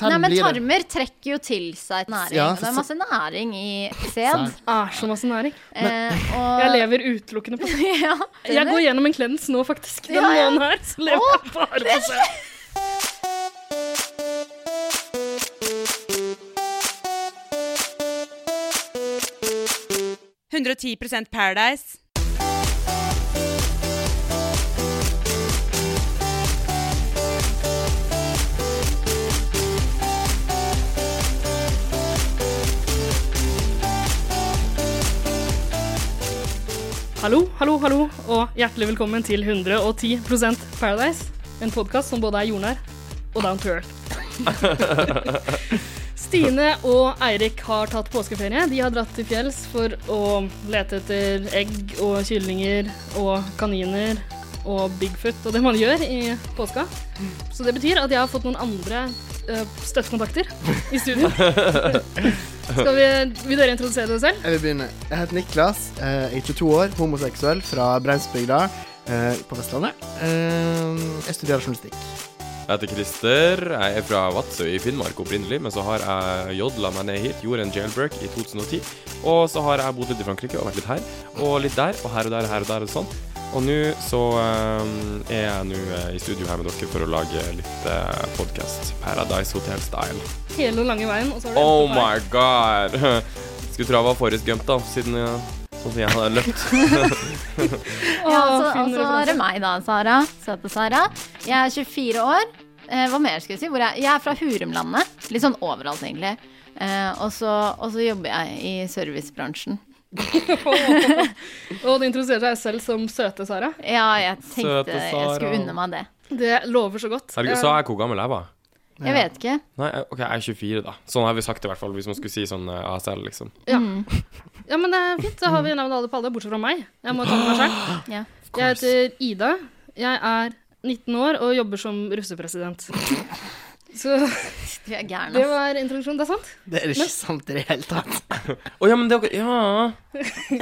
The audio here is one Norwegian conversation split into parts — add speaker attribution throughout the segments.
Speaker 1: Nei, men
Speaker 2: blir det.
Speaker 1: tarmer trekker jo til seg næring.
Speaker 2: Ja,
Speaker 1: og det
Speaker 2: så-
Speaker 1: er masse næring i sæd.
Speaker 2: Sæd.
Speaker 3: Er så masse næring.
Speaker 1: Eh,
Speaker 3: Jeg
Speaker 1: og
Speaker 3: lever utelukkende på
Speaker 1: ja,
Speaker 3: Jeg går gjennom en klens nå, faktisk. Den
Speaker 1: Ja, ja.
Speaker 3: måneden her. Så lever jeg bare på seg.
Speaker 4: Paradise.
Speaker 3: Hallo, hallo, hallo, og hjertelig velkommen til 110 Paradise. En podkast som både er jordnær og down to earth. Stine og Eirik har tatt påskeferie. De har dratt til fjells for å lete etter egg og kyllinger og kaniner og Bigfoot og det man gjør i påska. Så det betyr at jeg har fått noen andre eh, støttekontakter i studio. Skal vi, vil dere introdusere dere selv?
Speaker 2: Jeg vil begynne. Jeg heter Niklas, eh, jeg er 22 år, homoseksuell fra Breimsbygda eh, på Vestlandet. Eh, Jeg studerer journalistikk.
Speaker 5: Jeg heter Christer. Jeg er fra Vadsø i Finnmark opprinnelig, men så har jeg jodla meg ned hit, gjorde en jailbreak i 2010. Og så har jeg bodd litt i Frankrike og vært litt her og litt der og her og der og her og der og sånn. Og nå så eh, er jeg nå eh, i studio her med dere for å lage litt uh, podkast. Paradise Hotel Style.
Speaker 3: Hele den lange veien. Og så har dere
Speaker 5: Oh
Speaker 3: endt opp her.
Speaker 5: my god! Skulle tro jeg var forrest gømt, da, siden eh, sånn som jeg hadde løpt.
Speaker 1: ja, så, altså,
Speaker 3: Å,
Speaker 1: og så er det meg, da, Sara. Søte Sara. Jeg er 24 år. Eh, hva mer skal jeg si? Hvor er, jeg er fra Hurumlandet. Litt sånn overalt, egentlig. Eh, og, så, og så jobber jeg i servicebransjen.
Speaker 3: Og du introduserer deg selv som søte Sara.
Speaker 1: Ja, jeg
Speaker 5: Søte
Speaker 1: tenkte jeg
Speaker 5: Sara.
Speaker 1: skulle unne meg det.
Speaker 3: Det lover så godt.
Speaker 5: Herregud, sa jeg hvor gammel jeg var?
Speaker 1: Jeg vet ikke.
Speaker 5: Nei, jeg- OK, jeg er 24, da. Sånn har vi sagt det, i hvert fall, hvis man skulle si sånn eh, ASL, liksom.
Speaker 1: Mm.
Speaker 3: Eh, Ja, men det er fint. Da har vi navnet alle på alle, bortsett fra meg. Jeg må ta med meg selv.
Speaker 1: Ja.
Speaker 3: Jeg heter Ida. Jeg er 19 år og jobber som russepresident. Så
Speaker 1: Du er gæren,
Speaker 3: det
Speaker 1: ass.
Speaker 3: var introduksjonen. Det er sant?
Speaker 2: Det er ikke sant i det hele tatt.
Speaker 5: Å ja, men det var Ja.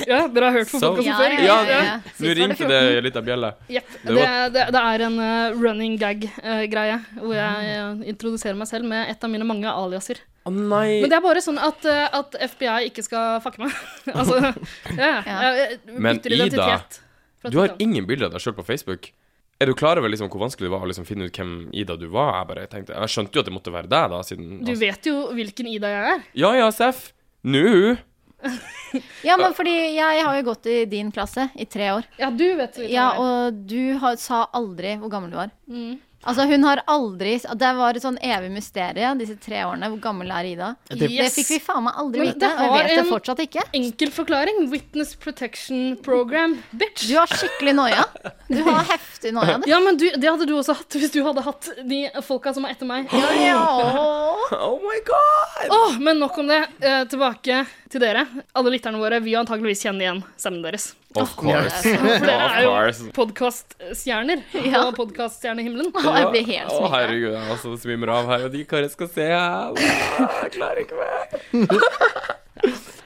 Speaker 3: Ja, dere har hørt på
Speaker 5: Så-
Speaker 3: podkasten
Speaker 1: Ja,
Speaker 3: før?
Speaker 1: ja, ja, ja.
Speaker 3: Ja.
Speaker 1: Sist
Speaker 5: Nå
Speaker 1: var det
Speaker 5: ringte
Speaker 1: 14.
Speaker 5: det litt av bjelle.
Speaker 3: Jepp.
Speaker 5: Det
Speaker 3: Det,
Speaker 5: var-
Speaker 3: det, det er en eh, running gag-greie, hvor jeg eh, introduserer meg selv med et av mine mange aliaser.
Speaker 5: Å nei.
Speaker 3: Men det er bare sånn at, eh, at FBI ikke skal fucke meg. altså, ja,
Speaker 1: Ja.
Speaker 3: jeg, jeg
Speaker 5: Men
Speaker 3: bytter
Speaker 5: Ida,
Speaker 3: identitet. fra
Speaker 5: Du har
Speaker 3: Tyskland.
Speaker 5: ingen bilder av deg sjøl på Facebook. Er du klar over liksom hvor vanskelig det var å liksom finne ut hvem Ida du var? Jeg bare tenkte, jeg skjønte jo at det måtte være deg, da, siden altså-
Speaker 3: Du vet jo hvilken Ida jeg er.
Speaker 5: Ja ja, Seff. Nå!
Speaker 1: Ja, men fordi jeg har jo gått i din klasse i tre år.
Speaker 3: Ja, du vet hvilken
Speaker 1: Ja,
Speaker 3: jeg er.
Speaker 1: og du har, sa aldri hvor gammel du var.
Speaker 3: Mm.
Speaker 1: Altså, hun har aldri Det var et sånn evig mysterium disse tre årene. Hvor gammel er Ida?
Speaker 2: Det-
Speaker 1: Det fikk vi faen meg aldri
Speaker 3: Men
Speaker 1: vite,
Speaker 3: det
Speaker 1: og jeg
Speaker 3: har
Speaker 1: vet det
Speaker 3: en-
Speaker 1: fortsatt ikke.
Speaker 3: Enkel forklaring. Witness Protection Program, bitch.
Speaker 1: Du har skikkelig noia. Du har heftig noia, du.
Speaker 3: Ja, men du, det hadde du også hatt hvis du hadde hatt de folka som er etter meg. Åh,
Speaker 1: Ja.
Speaker 5: Oh my god!
Speaker 3: Men nok om det. Eh, tilbake til dere. Alle lytterne våre vil antageligvis kjenne igjen stemmen deres.
Speaker 5: Of course.
Speaker 3: For dere
Speaker 5: Of
Speaker 3: er jo
Speaker 5: course.
Speaker 3: podkaststjerner
Speaker 1: Ja.
Speaker 3: på podkaststjernehimmelen.
Speaker 1: Jeg blir helt
Speaker 5: Å,
Speaker 1: smitt.
Speaker 5: herregud, jeg også svimmer av her, og de karene skal se her. Jeg klarer ikke mer.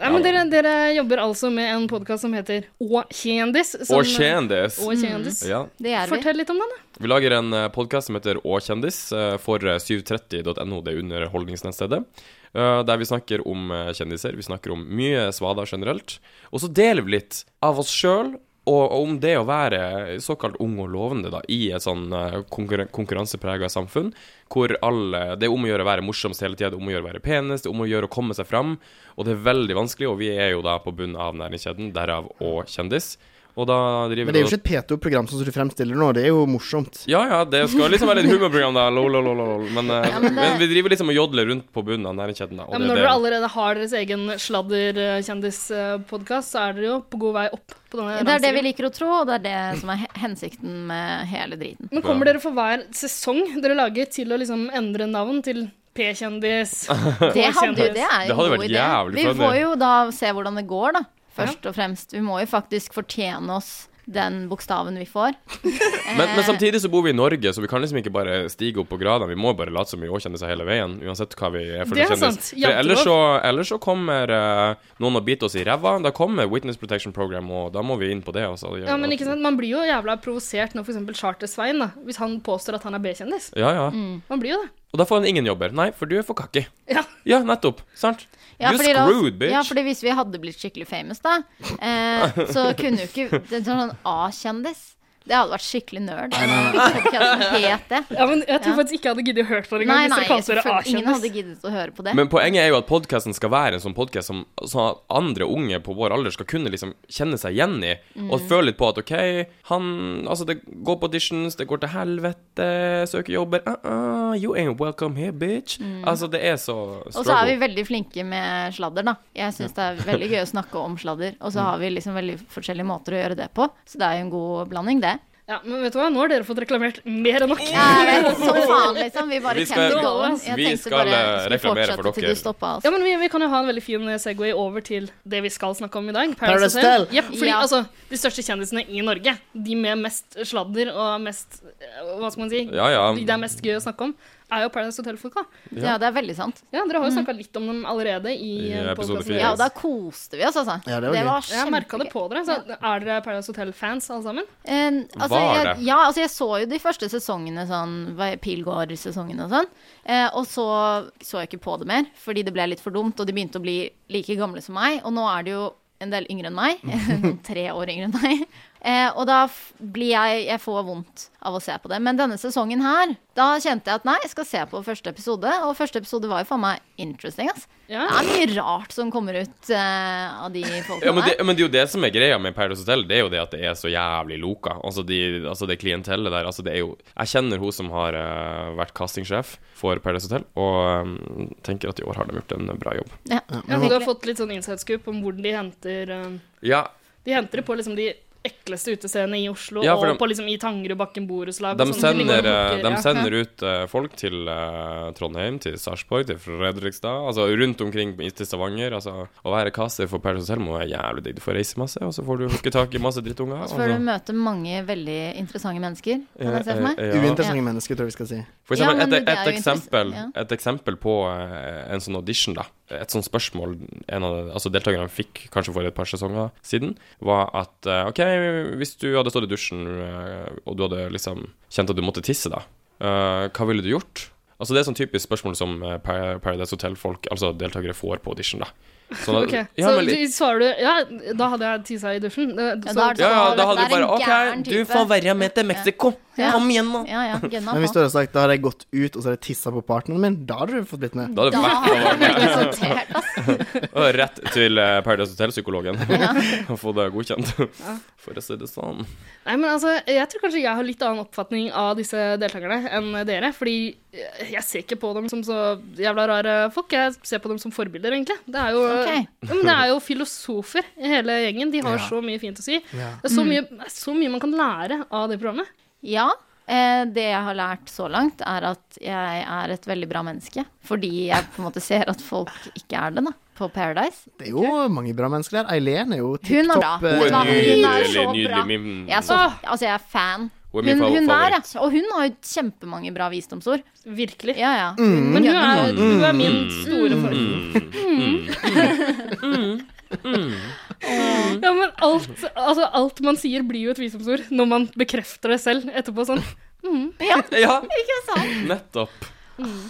Speaker 3: Nei, men dere, dere jobber altså med en podkast som heter Å kjendis. som-
Speaker 5: Og kjendis. Mm.
Speaker 3: Å kjendis.
Speaker 5: Ja.
Speaker 1: Det er vi.
Speaker 3: Fortell litt om den, da.
Speaker 5: Vi lager en podkast som heter Å kjendis eh, for eh, 730.no, det er underholdningsnettstedet. eh, Der vi snakker om eh, kjendiser. Vi snakker om mye svader generelt. Og så deler vi litt av oss sjøl. Og og om det å være såkalt ung og lovende da, i et sånn eh, konkurran konkurranseprega samfunn, hvor alle, det er om å gjøre å være morsomst hele tida, det er om å gjøre å være penest, det er om å gjøre å komme seg fram. Og det er veldig vanskelig, og vi er jo da på bunnen av næringskjeden, derav og kjendis. Og da driver
Speaker 2: Men det er jo
Speaker 5: og-
Speaker 2: ikke et P2-program sånn som du fremstiller nå. Det er jo morsomt.
Speaker 5: ja, ja, det skal liksom være et humorprogram, da. Lol, lol, lol, lol. Men, eh,
Speaker 1: men det-
Speaker 5: men, vi driver liksom og jodler rundt på bunnen av næringskjeden. da, og
Speaker 3: Ja,
Speaker 5: det
Speaker 3: men
Speaker 5: er
Speaker 3: når
Speaker 5: det-
Speaker 3: dere allerede har deres egen sladder-kjendispodkast, så er dere jo på god vei opp på denne
Speaker 1: Det er det vi
Speaker 3: rangstigen.
Speaker 1: liker å tro, og det er det som er he- hensikten med hele driten.
Speaker 3: Men kommer dere for hver sesong dere lager, til å liksom endre navn til P-kjendis?
Speaker 1: Det hadde jo,
Speaker 3: kjendis.
Speaker 1: det er
Speaker 5: Det
Speaker 1: jo
Speaker 5: hadde
Speaker 1: en god
Speaker 5: vært
Speaker 1: idé.
Speaker 5: jævlig
Speaker 1: Vi
Speaker 5: funny.
Speaker 1: får jo da se hvordan det går, da. Først og fremst. Vi må jo faktisk fortjene oss den bokstaven vi får.
Speaker 5: Men,
Speaker 3: Eh.
Speaker 5: men samtidig så bor vi i Norge, så vi kan liksom ikke bare stige opp på gradene. Vi må bare late som vi også kjenner seg hele veien, uansett hva vi er for
Speaker 3: Det
Speaker 5: noen
Speaker 3: er sant.
Speaker 5: kjendis. For
Speaker 3: Jantelov.
Speaker 5: ellers så, ellers så kommer eh, noen og biter oss i ræva. Da kommer Witness Protection Program, og da må vi inn på det. Altså.
Speaker 3: Ja, men ikke sant? Man blir jo jævla provosert når f.eks. Charter-Svein, da, hvis han påstår at han er B-kjendis.
Speaker 5: Ja, ja.
Speaker 3: Man blir jo det.
Speaker 5: Og da får han ingen jobber. Nei, for du er for kakki.
Speaker 3: Ja.
Speaker 5: Ja, nettopp. Sant?
Speaker 1: Ja,
Speaker 5: You're
Speaker 1: fordi da-
Speaker 5: screwed, bitch.
Speaker 1: Ja, fordi hvis vi hadde blitt skikkelig famous, da, eh, så kunne jo ikke det er sånn A-kjendis Det hadde vært skikkelig nerd. Podcasten het det.
Speaker 3: Ja, men jeg tror
Speaker 1: Ja.
Speaker 3: faktisk ikke jeg hadde giddet å hørt på det engang.
Speaker 1: Nei,
Speaker 3: hvis
Speaker 1: nei,
Speaker 3: det kalles å være
Speaker 1: selvfølgelig, ingen hadde
Speaker 3: A-kjendis.
Speaker 1: giddet å høre på det.
Speaker 5: Men poenget er jo at podkasten skal være en sånn podkast som sånn at andre unge på vår alder skal kunne liksom kjenne seg igjen i,
Speaker 1: Mm.
Speaker 5: og føle litt på at OK, han Altså, det går på auditions, det går til helvete, søker jobber uh -uh, You ain't welcome here, bitch. Altså, det er så
Speaker 1: Mm. Og så er vi
Speaker 5: struggle.
Speaker 1: veldig flinke med sladder, da. Jeg syns det er veldig gøy å snakke om sladder. Og så har vi liksom veldig forskjellige måter å gjøre det på, så det er jo en god blanding, det.
Speaker 3: Ja, men vet du hva? Nå har dere fått reklamert mer enn nok.
Speaker 1: Ja, jeg vet, som faen, liksom. Vi bare
Speaker 5: Vi skal-
Speaker 1: kjenner going. Jeg
Speaker 5: vi
Speaker 1: tenkte
Speaker 5: skal,
Speaker 1: bare,
Speaker 5: eh,
Speaker 1: skulle
Speaker 5: reklamere
Speaker 1: fortsette
Speaker 5: for
Speaker 1: til
Speaker 5: dere.
Speaker 1: du stoppet oss.
Speaker 3: Ja, men vi, vi kan jo ha en veldig fin eh, Segway over til det vi skal snakke om i dag.
Speaker 2: Paradise Hotel.
Speaker 3: Yep, fordi
Speaker 1: Ja.
Speaker 3: altså, De største kjendisene i Norge, de med mest sladder og mest eh, Hva skal man si?
Speaker 5: Ja, ja.
Speaker 3: De det er mest gøy å snakke om, er jo Paradise Hotel-folka.
Speaker 1: Ja. det er veldig sant.
Speaker 3: Ja, dere har jo snakka litt om dem allerede i,
Speaker 5: I
Speaker 3: eh,
Speaker 5: episode
Speaker 3: podcasten.
Speaker 5: fire.
Speaker 1: Mm. Ja, og da koste vi oss, altså.
Speaker 2: Ja, det var gøy.
Speaker 1: var
Speaker 3: Ja, Jeg merka det
Speaker 1: kjempegøy.
Speaker 3: på dere. Så er dere Paradise Hotel-fans alle sammen?
Speaker 1: Eh, altså,
Speaker 5: Var
Speaker 1: jeg,
Speaker 5: det?
Speaker 1: ja, altså jeg så jo de første sesongene, sånn hva- Pilgård-sesongen og sånn. Eh, og så så jeg ikke på det mer, fordi det ble litt for dumt, og de begynte å bli like gamle som meg. Og nå er de jo en del yngre enn meg. noen Tre år yngre enn meg. Eh, og da f- blir jeg Jeg får vondt av å se på det. Men denne sesongen her, da kjente jeg at nei, jeg skal se på første episode. Og første episode var jo faen meg interesting, ass.
Speaker 3: Ja.
Speaker 1: Det er mye rart som kommer ut eh, av de folkene
Speaker 5: Ja, men
Speaker 1: der.
Speaker 5: det, men det er jo det som er greia med Paradise Hotel, det er jo det at det er så jævlig loka. Altså, de, altså det klientellet der, altså det er jo Jeg kjenner hun som har eh, vært castingsjef for Paradise Hotel, og eh, tenker at i år har de gjort en bra jobb.
Speaker 1: Ja.
Speaker 3: Ja, så du har fått litt sånn inside-scoop om hvor de henter eh,
Speaker 5: Ja,
Speaker 3: De henter det på liksom de ekleste utestedene i Oslo
Speaker 5: Ja, for
Speaker 3: og
Speaker 5: de-
Speaker 3: på liksom i Tangerudbakken borettslag. og
Speaker 5: De
Speaker 3: sånn. ligger
Speaker 5: sender,
Speaker 3: og
Speaker 5: eh,
Speaker 3: plukker,
Speaker 5: de
Speaker 3: ja.
Speaker 5: sender ut eh, folk til eh, Trondheim, til Sarpsborg, til Fredrikstad. Altså rundt omkring i- til Stavanger. Altså, å være kasser for Paradise Hotel må være jævlig digg. Du får reise masse, og så får du hooke tak i masse drittunger.
Speaker 1: Og
Speaker 5: altså.
Speaker 1: så får du møte mange veldig interessante mennesker. Kan jeg se
Speaker 5: Eh,
Speaker 1: for meg?
Speaker 2: Uinteressante mennesker, tror jeg vi skal si.
Speaker 5: For
Speaker 1: Ja,
Speaker 5: eksempel,
Speaker 1: men det er
Speaker 5: et, et,
Speaker 1: jo
Speaker 5: eksempel,
Speaker 1: interess-
Speaker 5: et eksempel på eh, en sånn audition, da. Et sånt spørsmål en av altså deltakerne fikk kanskje for et par sesonger siden, var at eh, OK, hvis du hadde stått i dusjen eh, og du hadde liksom kjent at du måtte tisse, da, eh, hva ville du gjort? Altså Det er sånn typisk spørsmål som eh, Par- Paradise Hotel-folk, altså deltakere, får på audition, da. Sånn at-
Speaker 3: Ok,
Speaker 5: ja,
Speaker 3: Så
Speaker 5: men,
Speaker 3: du, svarer du Ja, da hadde jeg tisa i dusjen. Det-
Speaker 1: Ja,
Speaker 3: så-
Speaker 1: da er det-
Speaker 5: eh. ja, ja, da
Speaker 1: det
Speaker 5: hadde
Speaker 1: er
Speaker 5: du bare
Speaker 1: en gæren
Speaker 5: OK, du
Speaker 1: type.
Speaker 5: får være med til Mexico.
Speaker 1: Ja.
Speaker 5: Kom igjen, nå.
Speaker 1: Ja, ja, gønna
Speaker 2: Men hvis du
Speaker 1: på.
Speaker 2: hadde sagt da hadde jeg gått ut og så hadde jeg tissa på partneren min, da hadde du fått blitt med.
Speaker 5: Da hadde
Speaker 1: Da
Speaker 5: du vært
Speaker 1: har du blitt sortert, ass.
Speaker 5: Og rett til eh, Paradise Hotel-psykologen og få det godkjent. For å si det sånn.
Speaker 3: Nei, men altså, Jeg tror kanskje jeg har litt annen oppfatning av disse deltakerne enn dere. Fordi eh, jeg ser ikke på dem som så jævla rare folk. Jeg ser på dem som forbilder, egentlig. Det er jo,
Speaker 1: Ok.
Speaker 3: ja, men det er jo filosofer i hele gjengen. De har
Speaker 2: Ja.
Speaker 3: så mye fint å si. Det
Speaker 2: Ja.
Speaker 3: er
Speaker 1: Mm.
Speaker 3: så mye, det er så mye man kan lære av det programmet.
Speaker 1: Ja. Eh, det jeg har lært så langt, er at jeg er et veldig bra menneske. Fordi jeg på en måte ser at folk ikke er det, da. På Paradise.
Speaker 2: Det er jo mange bra mennesker der. Eileen er jo
Speaker 1: Hun er bra.
Speaker 2: TikTok, eh,
Speaker 1: Vet du hva? Hun er så bra.
Speaker 5: min
Speaker 1: Jeg, er så, altså, jeg er fan.
Speaker 5: Hun
Speaker 1: Hun,
Speaker 5: er min
Speaker 1: hun der, ja.
Speaker 5: favoritt.
Speaker 1: Og hun har jo kjempemange bra visdomsord.
Speaker 3: Virkelig.
Speaker 1: Ja,
Speaker 2: Mm.
Speaker 1: ja.
Speaker 3: Men hun er, hun er min store forbilde.
Speaker 2: Mm.
Speaker 3: Mm. Ja, men alt, altså, alt man sier, blir jo et visdomsord når man bekrefter det selv etterpå. sånn.
Speaker 5: Ja,
Speaker 1: Ikke sant? Mm.
Speaker 5: nettopp.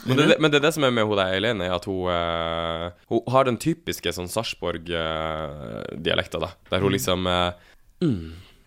Speaker 5: Men det, men det er det som er med hun der Eileen, er at hun, eh, hun har den typiske sånn Sarpsborg-dialekta, da. Der hun liksom eh,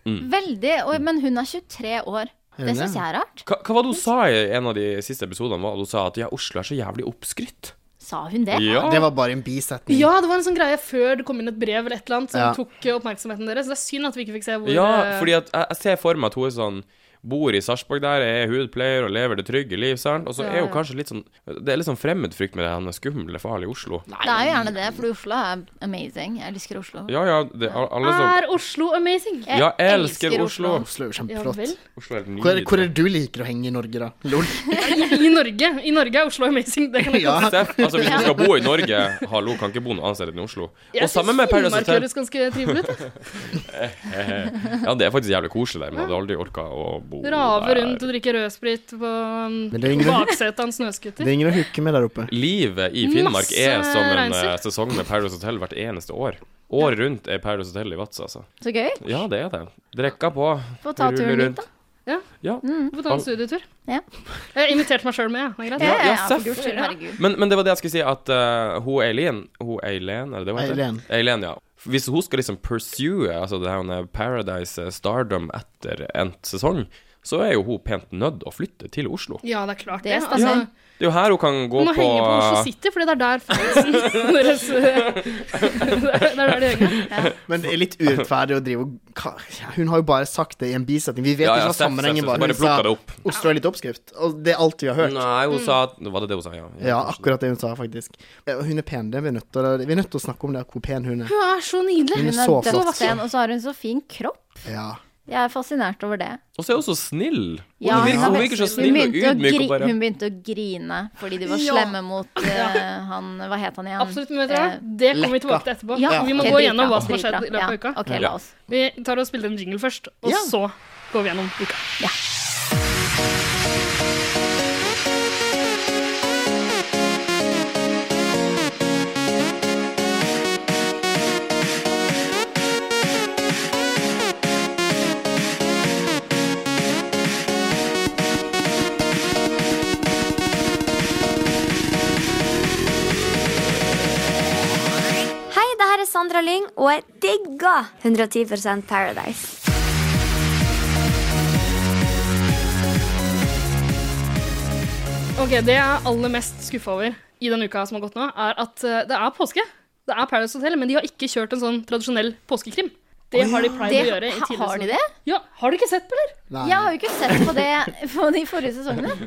Speaker 1: Veldig. Og, men hun er 23 år.
Speaker 2: Hun er.
Speaker 1: Det syns jeg er rart.
Speaker 5: hva, hva var det hun sa i en av de siste episodene? Var det Hun sa at ja, Oslo er så jævlig oppskrytt.
Speaker 1: Sa hun det?
Speaker 5: Ja.
Speaker 2: Det var bare en bisetning.
Speaker 3: Ja, det var en sånn greie før det kom inn et brev eller et eller annet som
Speaker 2: Ja.
Speaker 3: tok eh, oppmerksomheten deres. Det er synd at vi ikke fikk se hvor
Speaker 5: Ja,
Speaker 3: eh,
Speaker 5: fordi at jeg, jeg ser for meg at hun er sånn bor i Sarpsborg der, er hudpleier og lever det trygge liv, sant? Og så
Speaker 1: Ja,
Speaker 5: er jo
Speaker 1: ja.
Speaker 5: kanskje litt sånn Det er litt sånn fremmedfrykt med det han er skummel far i Oslo.
Speaker 1: Det er jo gjerne det, for Oslo er amazing. Jeg elsker Oslo.
Speaker 5: Ja, ja, det, alle som
Speaker 3: Er Oslo amazing?
Speaker 1: Jeg
Speaker 5: Ja, elsker Oslo.
Speaker 2: Oslo er jo
Speaker 3: Ja
Speaker 2: kjempeflott.
Speaker 3: vel.
Speaker 5: Oslo er helt
Speaker 2: Hvor, er- hvor
Speaker 5: nydelig.
Speaker 2: er det du liker å henge i Norge, da? Lol.
Speaker 3: I Norge. I Norge er Oslo amazing. Det kan jeg
Speaker 2: Ja.
Speaker 5: Steff, altså Hvis du skal bo i Norge, hallo, kan ikke bo noe annet sted enn i Oslo. Og sammen med Paradise
Speaker 3: Finnmark
Speaker 5: Hotel.
Speaker 3: høres ganske trivelig ut. da.
Speaker 5: Ja, det er faktisk jævlig koselig der, men jeg hadde aldri orka å bo
Speaker 3: Rave
Speaker 5: der.
Speaker 3: rundt og drikke rødsprit på um,
Speaker 2: Men det er ingen-
Speaker 3: baksetet av en
Speaker 2: Det
Speaker 3: snøscooter.
Speaker 2: er ingen å hooke med der oppe.
Speaker 5: Livet i Finnmark er
Speaker 3: Masse
Speaker 5: som en
Speaker 3: reiser.
Speaker 5: eh, sesong med Paradise Hotel hvert eneste år. Året rundt er Paradise Hotel i Vadsø, altså.
Speaker 1: Så gøy.
Speaker 5: Ja, det er det. Drekka på.
Speaker 1: Få ta
Speaker 5: rulle
Speaker 1: turen dit,
Speaker 5: rundt.
Speaker 1: da.
Speaker 3: Ja.
Speaker 5: Ja.
Speaker 3: Du får ta en studietur.
Speaker 1: Ja.
Speaker 3: Jeg har invitert meg sjøl med, ja. Det er greit.
Speaker 1: Ja, ja,
Speaker 5: ja,
Speaker 1: for
Speaker 5: seff.
Speaker 1: guds skyld, herregud.
Speaker 5: Men, men det var det jeg skulle si, at eh, hun Eileen Hun Eileen, er det det hun heter?
Speaker 2: Eileen.
Speaker 5: ja. Hvis hun skal liksom pursue altså det her med Paradise eh, Stardom etter endt sesong, så er jo hun pent nødt å flytte til Oslo.
Speaker 3: Ja, det er klart
Speaker 1: Det
Speaker 3: det.
Speaker 1: stemmer.
Speaker 3: Altså,
Speaker 5: Det er jo her hun kan gå
Speaker 3: Hun må
Speaker 5: på
Speaker 3: henge på Oslo City, fordi det er der fansen deres eh, Det er der de henger.
Speaker 2: Men det er litt urettferdig å drive og Hva- ja, Hun har jo bare sagt det i en bisetning. Vi vet
Speaker 5: Ja, ja,
Speaker 2: ikke hva
Speaker 5: Steff,
Speaker 2: sammenhengen
Speaker 5: Steff,
Speaker 2: var. Hun
Speaker 5: Steff, bare
Speaker 2: sa
Speaker 5: plukka det opp.
Speaker 2: Oslo er litt oppskrift, og det er alt vi har hørt.
Speaker 5: Nei, hun sa at Var det det hun sa, ja?
Speaker 2: Ja, akkurat det hun sa, faktisk. Eh, Hun er pen, det er vi nødt til å, vi er nødt til å snakke om det, hvor pen hun er.
Speaker 3: Hun er så
Speaker 2: Hun
Speaker 1: Hun
Speaker 3: nydelig.
Speaker 2: er
Speaker 1: er
Speaker 2: så flott.
Speaker 1: dødspen, og så har hun så fin kropp.
Speaker 2: Ja.
Speaker 1: Jeg er fascinert over det.
Speaker 5: Og så er hun så snill. Hun,
Speaker 1: Ja, hun
Speaker 5: virker,
Speaker 1: er
Speaker 5: hun
Speaker 1: veldig
Speaker 5: virker så
Speaker 1: Hun
Speaker 5: snill og
Speaker 1: begynte, å
Speaker 5: ydmyk og
Speaker 1: gri-
Speaker 5: bare
Speaker 1: hun begynte å grine fordi de var
Speaker 3: Ja.
Speaker 1: slemme mot eh, han Hva het han igjen?
Speaker 3: Absolutt. Men vet dere, hva? det kommer vi tilbake til etterpå.
Speaker 1: Eh, Ja,
Speaker 3: Vi må
Speaker 1: ok,
Speaker 3: gå
Speaker 1: dritbra,
Speaker 3: gjennom hva som har skjedd
Speaker 1: dritbra.
Speaker 3: i løpet av uka.
Speaker 1: Ja, ok,
Speaker 5: Ja.
Speaker 1: la oss.
Speaker 3: Vi tar og spiller en jingle først, og
Speaker 2: Ja.
Speaker 3: så går vi gjennom uka.
Speaker 1: Ja.
Speaker 6: Hei, det her er Sandra Lyng, og jeg digger 110 Paradise.
Speaker 3: Ok, Det jeg er aller mest skuffa over i den uka som har gått nå, er at eh, det er påske. Det er Paradise Hotel, men de har ikke kjørt en sånn tradisjonell påskekrim. Det har de pleid
Speaker 1: Det,
Speaker 3: å gjøre. i tidligere
Speaker 1: har de
Speaker 3: sesonger.
Speaker 1: det?
Speaker 3: Ja, Har du ikke sett på, eller?
Speaker 2: Nei.
Speaker 1: Jeg har jo ikke sett på det på de forrige sesongene.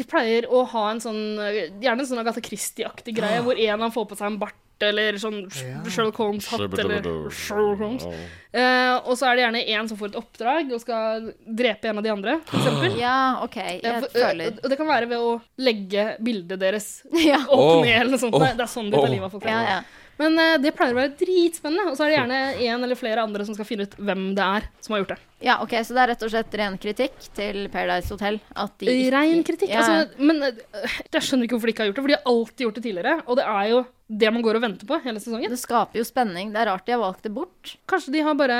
Speaker 3: De pleier å ha en sånn Gjerne en sånn Agatha Christie-aktig
Speaker 1: Ah.
Speaker 3: greie, hvor en av dem får på seg en bart. Eller sånn Sherlock Holmes-hatt, eller Sherlock Holmes. Eh, og så er det gjerne en som får et oppdrag og skal drepe en av de andre, for eksempel.
Speaker 1: Ja, OK.
Speaker 3: Eh,
Speaker 1: Jeg
Speaker 3: for- eh,
Speaker 1: føler
Speaker 3: Og det kan være ved å legge bildet deres
Speaker 1: Ja.
Speaker 3: opp
Speaker 5: Åh,
Speaker 3: ned, eller noe sånt.
Speaker 5: åh,
Speaker 3: det er sånn de tar
Speaker 5: åh.
Speaker 3: livet av folk.
Speaker 1: Ja, ja.
Speaker 3: Men eh, det pleier å være dritspennende, og så er det gjerne en eller flere andre som skal finne ut hvem det er som har gjort det.
Speaker 1: ja, OK. Så det er rett og slett ren kritikk til Paradise Hotel? At de ikke-
Speaker 3: Rein kritikk.
Speaker 1: Ja, ja.
Speaker 3: Altså, men eh, jeg skjønner ikke hvorfor de ikke har gjort det, for de har alltid gjort det tidligere. Og det er jo det man går og venter på hele sesongen.
Speaker 1: Det skaper jo spenning. Det er rart de har valgt det bort.
Speaker 3: Kanskje de har bare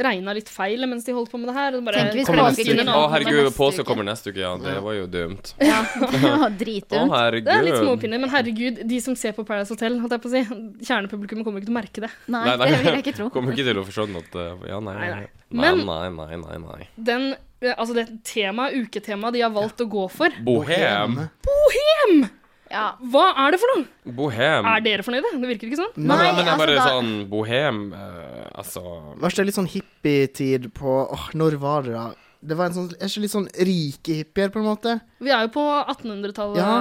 Speaker 3: regna litt feil mens de holdt på med det her. og Bare
Speaker 1: Tenk hvis
Speaker 3: kommer
Speaker 1: påske
Speaker 3: inn en
Speaker 1: kunne-
Speaker 5: Å,
Speaker 3: annen-
Speaker 5: herregud,
Speaker 1: neste
Speaker 5: påske
Speaker 1: uke.
Speaker 5: kommer neste uke, ja. Det var jo dumt.
Speaker 1: Ja,
Speaker 5: Å,
Speaker 1: Dritdumt.
Speaker 5: herregud.
Speaker 3: Det er litt småpinner, men herregud, de som ser på Paradise Hotel, holdt jeg på å si, kjernepublikummet kommer ikke til å merke det.
Speaker 1: Nei,
Speaker 5: Nei, nei.
Speaker 1: det vil jeg ikke tro.
Speaker 5: Kommer ikke til å forskjønne at eh, Ja, nei, nei,
Speaker 3: Nei,
Speaker 5: nei,
Speaker 3: Men-
Speaker 5: nei, nei, nei, nei.
Speaker 3: Den, eh, altså det temaet, uketemaet de har valgt å gå for,
Speaker 5: Bohem.
Speaker 1: Ja.
Speaker 3: hva er det for noe?
Speaker 5: Bohem.
Speaker 3: Er dere fornøyde? Det virker ikke sånn.
Speaker 5: Nei,
Speaker 1: Nei,
Speaker 5: men det er bare
Speaker 1: altså, da-
Speaker 5: sånn bohem eh, Altså
Speaker 2: Var ikke det litt sånn hippietid på Åh, når var det da? Det var en sånn, Er ikke litt sånn rike hippier, på en måte?
Speaker 3: Vi er jo på 1800-tallet.
Speaker 2: Ja.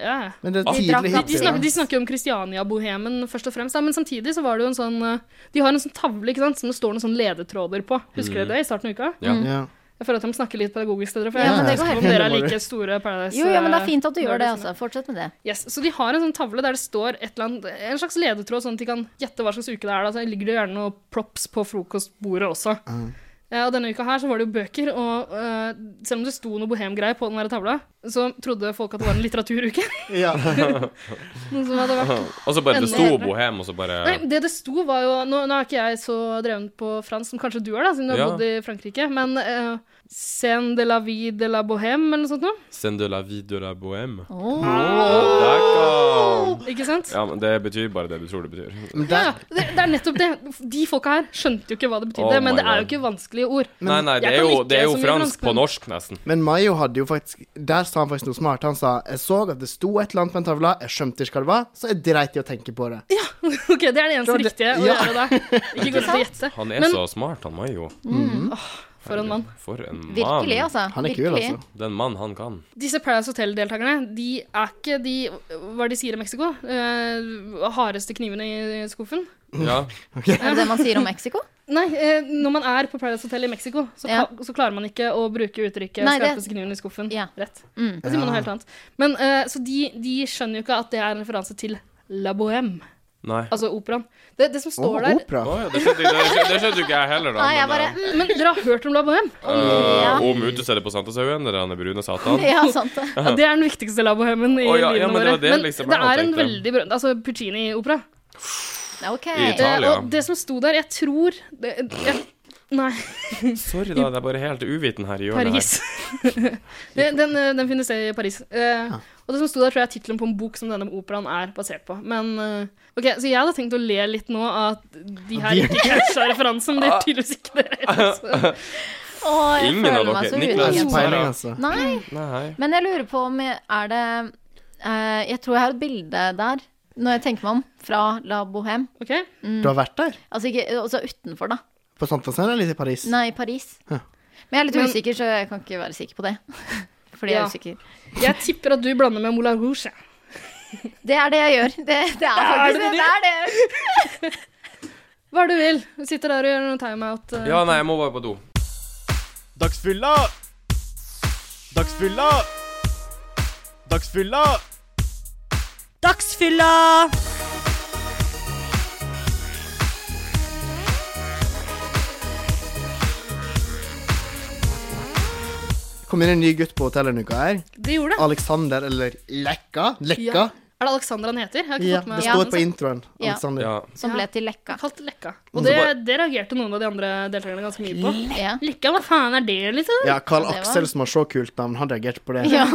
Speaker 3: Ja. ja.
Speaker 2: Men det er
Speaker 5: Ah.
Speaker 1: drakk
Speaker 2: tidlig
Speaker 1: opp.
Speaker 3: De
Speaker 2: hippier.
Speaker 3: snakker, de snakker om Kristiania-bohemen først og fremst, da, men samtidig så var det jo en sånn eh, De har en sånn tavle ikke sant, som det står noen sånne ledetråder på. Husker dere det i starten av uka?
Speaker 5: Ja.
Speaker 2: ja.
Speaker 3: Jeg føler at de snakker litt pedagogisk til dere, for
Speaker 1: Mm. Ja, men
Speaker 3: jeg vet
Speaker 1: det går
Speaker 3: ikke
Speaker 1: helt
Speaker 3: om dere er
Speaker 2: fint.
Speaker 3: like store Paradise.
Speaker 1: Jo, jo, men det er fint at du
Speaker 3: eh,
Speaker 1: gjør det,
Speaker 3: nerds,
Speaker 1: altså. Fortsett med det.
Speaker 3: Yes, så de har en sånn tavle der det står et eller annet, en slags ledetråd, sånn at de kan gjette hva slags uke det er. Da. Så ligger det jo gjerne noen props på frokostbordet også. Eh, og denne uka her så var det jo bøker, og eh, selv om det sto noe bohemgreier på den der tavla, så trodde folk at det var en litteraturuke.
Speaker 2: Ja.
Speaker 3: noe som hadde vært
Speaker 5: Og så bare det sto
Speaker 3: Enda-
Speaker 5: bohem, og så bare
Speaker 3: Nei, det det sto var jo Nå, nå er ikke jeg så dreven på fransk som kanskje du er, da, siden du har
Speaker 5: Ja.
Speaker 3: bodd i Frankrike, men eh, Scène de la vie de la bohème, eller noe sånt noe.
Speaker 5: Send de la vie de la bohem.
Speaker 1: Åh.
Speaker 5: Der kom
Speaker 3: Ikke sant?
Speaker 5: Ja, men det betyr bare det du tror det betyr.
Speaker 2: Men
Speaker 3: Ja,
Speaker 2: der,
Speaker 3: det, det er nettopp det. De folka her skjønte jo ikke hva det betydde,
Speaker 5: Oh my
Speaker 3: men det er jo
Speaker 5: God.
Speaker 3: ikke vanskelige ord.
Speaker 5: Nei, nei, det
Speaker 3: jeg
Speaker 5: er
Speaker 3: kan
Speaker 5: jo,
Speaker 3: ikke
Speaker 5: det er jo
Speaker 3: så mye
Speaker 5: fransk
Speaker 3: fransk,
Speaker 5: på
Speaker 3: men-
Speaker 5: norsk, nesten.
Speaker 2: men Mayo hadde jo faktisk Der sa han faktisk noe smart. Han sa jeg så at det sto et eller annet på en tavle, jeg skjønte ikke hva det var, så jeg dreit i å tenke på det.
Speaker 3: Ok, Det er det eneste
Speaker 2: Det var det-
Speaker 3: riktige å
Speaker 2: ja.
Speaker 3: gjøre da. Ikke gå til å gjette.
Speaker 5: Han er
Speaker 3: Men-
Speaker 5: så smart, han Mayo.
Speaker 3: For en mann.
Speaker 5: For en mann.
Speaker 1: Virkelig, altså.
Speaker 2: Han er kul,
Speaker 1: Virkelig.
Speaker 2: altså.
Speaker 5: Den mann han kan.
Speaker 3: Disse Paradise Hotel-deltakerne, de er ikke de Hva er det de sier i Mexico? Eh, hardeste knivene i skuffen?
Speaker 1: Mm.
Speaker 5: Ja.
Speaker 1: Er det det man sier om Mexico?
Speaker 3: Nei, eh, når man er på Paradise Hotel i Mexico, så,
Speaker 1: Ja.
Speaker 3: ka- så klarer man ikke å bruke uttrykket
Speaker 1: Nei, det-
Speaker 3: 'skarpeste kniven i skuffen'
Speaker 1: Ja.
Speaker 3: rett.
Speaker 1: Mm.
Speaker 3: Da sier man noe helt annet. Men, eh, så de, de skjønner jo ikke at det er en referanse til La Bohème,
Speaker 5: Nei.
Speaker 3: altså operaen. Det, det som
Speaker 2: Å,
Speaker 3: står der
Speaker 5: Å
Speaker 2: opera.
Speaker 5: ja, det skjønte, det, skjønte, det skjønte jo ikke jeg heller, da.
Speaker 1: Nei, jeg
Speaker 5: men,
Speaker 1: bare
Speaker 5: eh,
Speaker 1: mm,
Speaker 3: Men dere har hørt om La Bohème?
Speaker 5: eh,
Speaker 1: Ja.
Speaker 5: Om utestedet på Santashaugen, der han er brune satan.
Speaker 1: Ja, sant det.
Speaker 3: Ja, det er den viktigste La Bohèmen i
Speaker 5: Å, ja, ja,
Speaker 3: livene
Speaker 5: men det
Speaker 3: våre.
Speaker 5: var det liksom
Speaker 3: men det
Speaker 5: jeg
Speaker 3: er en
Speaker 5: tenkte.
Speaker 3: veldig berømt Altså Puccini-opera.
Speaker 1: OK.
Speaker 5: I
Speaker 3: Eh,
Speaker 5: Italia.
Speaker 3: og det som sto der, jeg tror det, jeg, Nei,
Speaker 5: Sorry, da. Det er bare helt uviten her i hjørnet.
Speaker 3: Paris. den, den, eh, den finnes i Paris. Eh, og det som sto der, tror jeg er tittelen på en bok som denne operaen er basert på. Men eh, OK, så jeg hadde tenkt å le litt nå av at de her
Speaker 2: De-
Speaker 3: ikke catcha referansen, men det er tydeligvis ikke dere heller. så-
Speaker 1: Å, jeg
Speaker 5: Ingen av
Speaker 1: føler meg
Speaker 5: dere-
Speaker 1: så
Speaker 5: Niklas-
Speaker 2: Ikke
Speaker 1: utrygg.
Speaker 2: peiling, altså.
Speaker 1: Nei,
Speaker 5: Nei, hei.
Speaker 1: men jeg lurer på om jeg, Er det eh, Jeg tror jeg har et bilde der, når jeg tenker meg om, fra La Bohème.
Speaker 3: OK?
Speaker 2: Du har vært der?
Speaker 1: Altså ikke altså utenfor, da.
Speaker 2: På Sankthanshaugen eller i Paris?
Speaker 1: Nei, i Paris.
Speaker 2: Ja.
Speaker 1: Men jeg er litt
Speaker 3: Men-
Speaker 1: usikker, så jeg kan ikke være sikker på det. Fordi jeg
Speaker 3: Ja.
Speaker 1: er usikker.
Speaker 3: Jeg tipper at du blander med Moulin Rouge. jeg.
Speaker 1: Det er det jeg gjør. Det, det er
Speaker 3: det
Speaker 1: faktisk det.
Speaker 3: du
Speaker 1: det, er det.
Speaker 3: Hva er det du vil? Du sitter der og gjør noe timeout. eh.
Speaker 5: Ja, nei, jeg må bare på do.
Speaker 7: Dagsfylla! Dagsfylla! Dagsfylla!
Speaker 4: Dagsfylla!
Speaker 2: Kom inn en ny gutt på hotellet en uke her.
Speaker 3: Det gjorde det.
Speaker 2: Alexander, eller Lekka. Lekka.
Speaker 3: Ja. Er det Alexander han heter? Jeg har ikke
Speaker 2: Ja,
Speaker 3: fått med
Speaker 2: det
Speaker 1: Ja,
Speaker 2: står
Speaker 1: men
Speaker 2: på introen.
Speaker 1: Ja.
Speaker 2: Alexander.
Speaker 5: Ja.
Speaker 1: Som ble til Lekka.
Speaker 3: Kalt Lekka. Og det, det reagerte noen av de andre deltakerne ganske mye på.
Speaker 1: Ja.
Speaker 3: Lekka, hva faen er det, liksom?
Speaker 2: Ja, Carl
Speaker 1: Det var-
Speaker 2: Aksel, som har så kult navn, han reagerte på det.
Speaker 1: ja.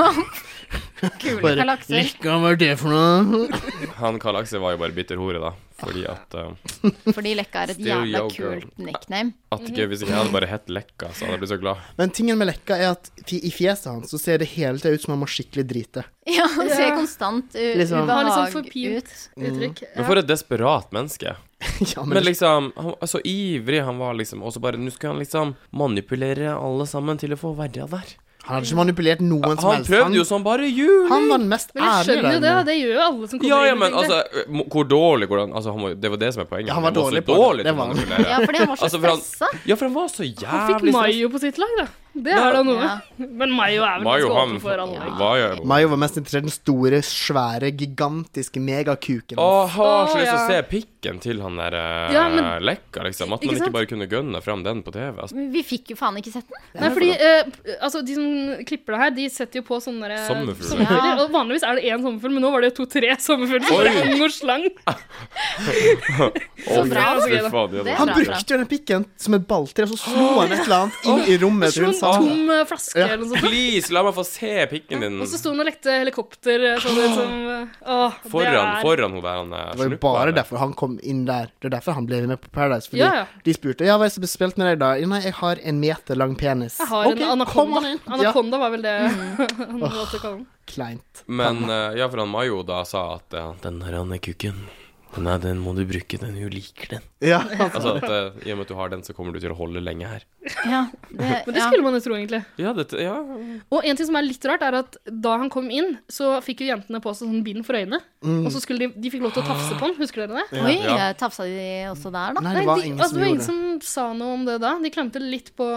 Speaker 1: Kule
Speaker 2: Bare,
Speaker 1: galakser.
Speaker 2: Lekka, hva er det for noe?
Speaker 5: Han Karl Aksel var jo bare bitter hore, da. Fordi at eh,
Speaker 1: Fordi Lekka er et
Speaker 5: Still
Speaker 1: jævla
Speaker 5: yo, girl.
Speaker 1: kult nickname.
Speaker 5: At ikke, Hvis ikke jeg hadde bare hett Lekka, så hadde jeg blitt så glad.
Speaker 2: Men tingen med Lekka er at fi- i fjeset hans så ser det hele tida ut som han må skikkelig drite.
Speaker 1: Ja, han ser konstant u
Speaker 5: sånn-
Speaker 2: Liksom-
Speaker 1: ubehag
Speaker 3: Har liksom forpint
Speaker 1: ut.
Speaker 3: uttrykk.
Speaker 5: Men for et desperat menneske.
Speaker 2: ja,
Speaker 5: Men liksom, han var så ivrig han var, liksom. Og så bare Nå skulle han liksom manipulere alle sammen til å få verre der.
Speaker 2: Han hadde ikke manipulert noen som
Speaker 5: Han
Speaker 2: helst.
Speaker 5: prøvde jo som bare jul!
Speaker 2: han var den mest
Speaker 3: Men jeg
Speaker 2: ærlige
Speaker 3: skjønner jo
Speaker 2: der
Speaker 3: det, da.
Speaker 2: inne.
Speaker 3: det gjør jo alle som kommer
Speaker 5: Ja, ja,
Speaker 3: inn.
Speaker 5: men
Speaker 3: egentlig.
Speaker 5: altså eh, mo- Hvor dårlig hvordan Altså, han var, det var det som er poenget.
Speaker 2: Ja, han var
Speaker 5: så
Speaker 2: dårlig på det.
Speaker 5: dårlig
Speaker 2: Det
Speaker 5: til å
Speaker 2: var han.
Speaker 5: manipulere.
Speaker 1: Ja, fordi han var så
Speaker 5: Altså, for han-
Speaker 1: stressa.
Speaker 5: Ja, for han var så
Speaker 3: Han fikk
Speaker 5: jævlig Ah, stress.
Speaker 3: Mayo på sitt lag, da. Det er da noe.
Speaker 1: Ja.
Speaker 3: Men Mayo er vel
Speaker 5: Mayo,
Speaker 3: ganske
Speaker 5: han
Speaker 3: åpen for alle.
Speaker 1: Ja.
Speaker 5: var jo
Speaker 2: Mayo var mest interessert i den store, svære, gigantiske megakuken.
Speaker 5: Åh, jeg har så
Speaker 3: Å,
Speaker 5: lyst til å se
Speaker 3: ja.
Speaker 5: pikken til han der eh,
Speaker 3: Ja, men-
Speaker 5: Lekka, liksom. At
Speaker 3: Ikke
Speaker 5: man
Speaker 3: sant?
Speaker 5: ikke bare kunne gønne fram den på TV. Altså.
Speaker 1: Men Vi fikk jo faen ikke sett den.
Speaker 3: Nei, fordi eh, altså, De som klipper det her, de setter jo på sånne der- eh,
Speaker 5: Sommerfugler.
Speaker 1: Ja.
Speaker 3: Og vanligvis er det én sommerfugl, men nå var det jo to-tre sommerfugler.
Speaker 5: Oi.
Speaker 3: for det er Ung og slang.
Speaker 5: Å,
Speaker 1: bra.
Speaker 5: fy faen, det
Speaker 1: Det er
Speaker 5: var-
Speaker 2: Han brukte jo den pikken som et balltre, og så slo han et eller annet inn i rommet til
Speaker 3: Slo
Speaker 2: hun
Speaker 3: en
Speaker 2: sa
Speaker 3: tom eh, flaske
Speaker 2: Ja.
Speaker 3: eller noe sånt.
Speaker 5: Please, la meg få se pikken din
Speaker 3: Og så sto han og lekte helikopter eh, sånn ut som eh, Åh, det
Speaker 5: foran,
Speaker 3: er
Speaker 5: foran hun der han eh,
Speaker 2: Det var jo
Speaker 5: snuppa,
Speaker 2: bare
Speaker 5: eller?
Speaker 2: derfor han kom inn der. Det er derfor han ble med på Paradise. Fordi
Speaker 3: Ja, ja.
Speaker 2: de spurte Ja, hva er det som blir spilt med deg da? Ja, Nei, jeg har en meter lang penis.
Speaker 3: Jeg har
Speaker 2: Ok,
Speaker 3: en
Speaker 2: kom
Speaker 3: anakonda.
Speaker 2: han inn.
Speaker 3: Anakonda var vel det han måtte kalle den.
Speaker 2: Ja, kleint.
Speaker 5: Men eh, ja, for han Mayo da sa at eh, Den her han er kukken. Den, er, den må du bruke, den du liker den.
Speaker 2: Ja.
Speaker 5: Altså at eh, i og med at du har den, så kommer du til å holde lenge her.
Speaker 1: Ja, det,
Speaker 3: Men det
Speaker 1: ja.
Speaker 3: skulle man jo tro, egentlig.
Speaker 5: Ja, dette, ja.
Speaker 3: Og en ting som er litt rart, er at da han kom inn, så fikk jo jentene på seg sånn bind for øynene.
Speaker 2: Mm.
Speaker 3: Og så skulle de, de fikk lov til å tafse på han, husker dere det?
Speaker 1: Oi,
Speaker 5: Ja.
Speaker 1: tafsa de også der, da?
Speaker 2: Nei, det var
Speaker 3: de,
Speaker 2: ingen
Speaker 3: altså,
Speaker 2: som
Speaker 3: det var
Speaker 2: gjorde
Speaker 3: ingen som sa noe om det da. De klemte litt på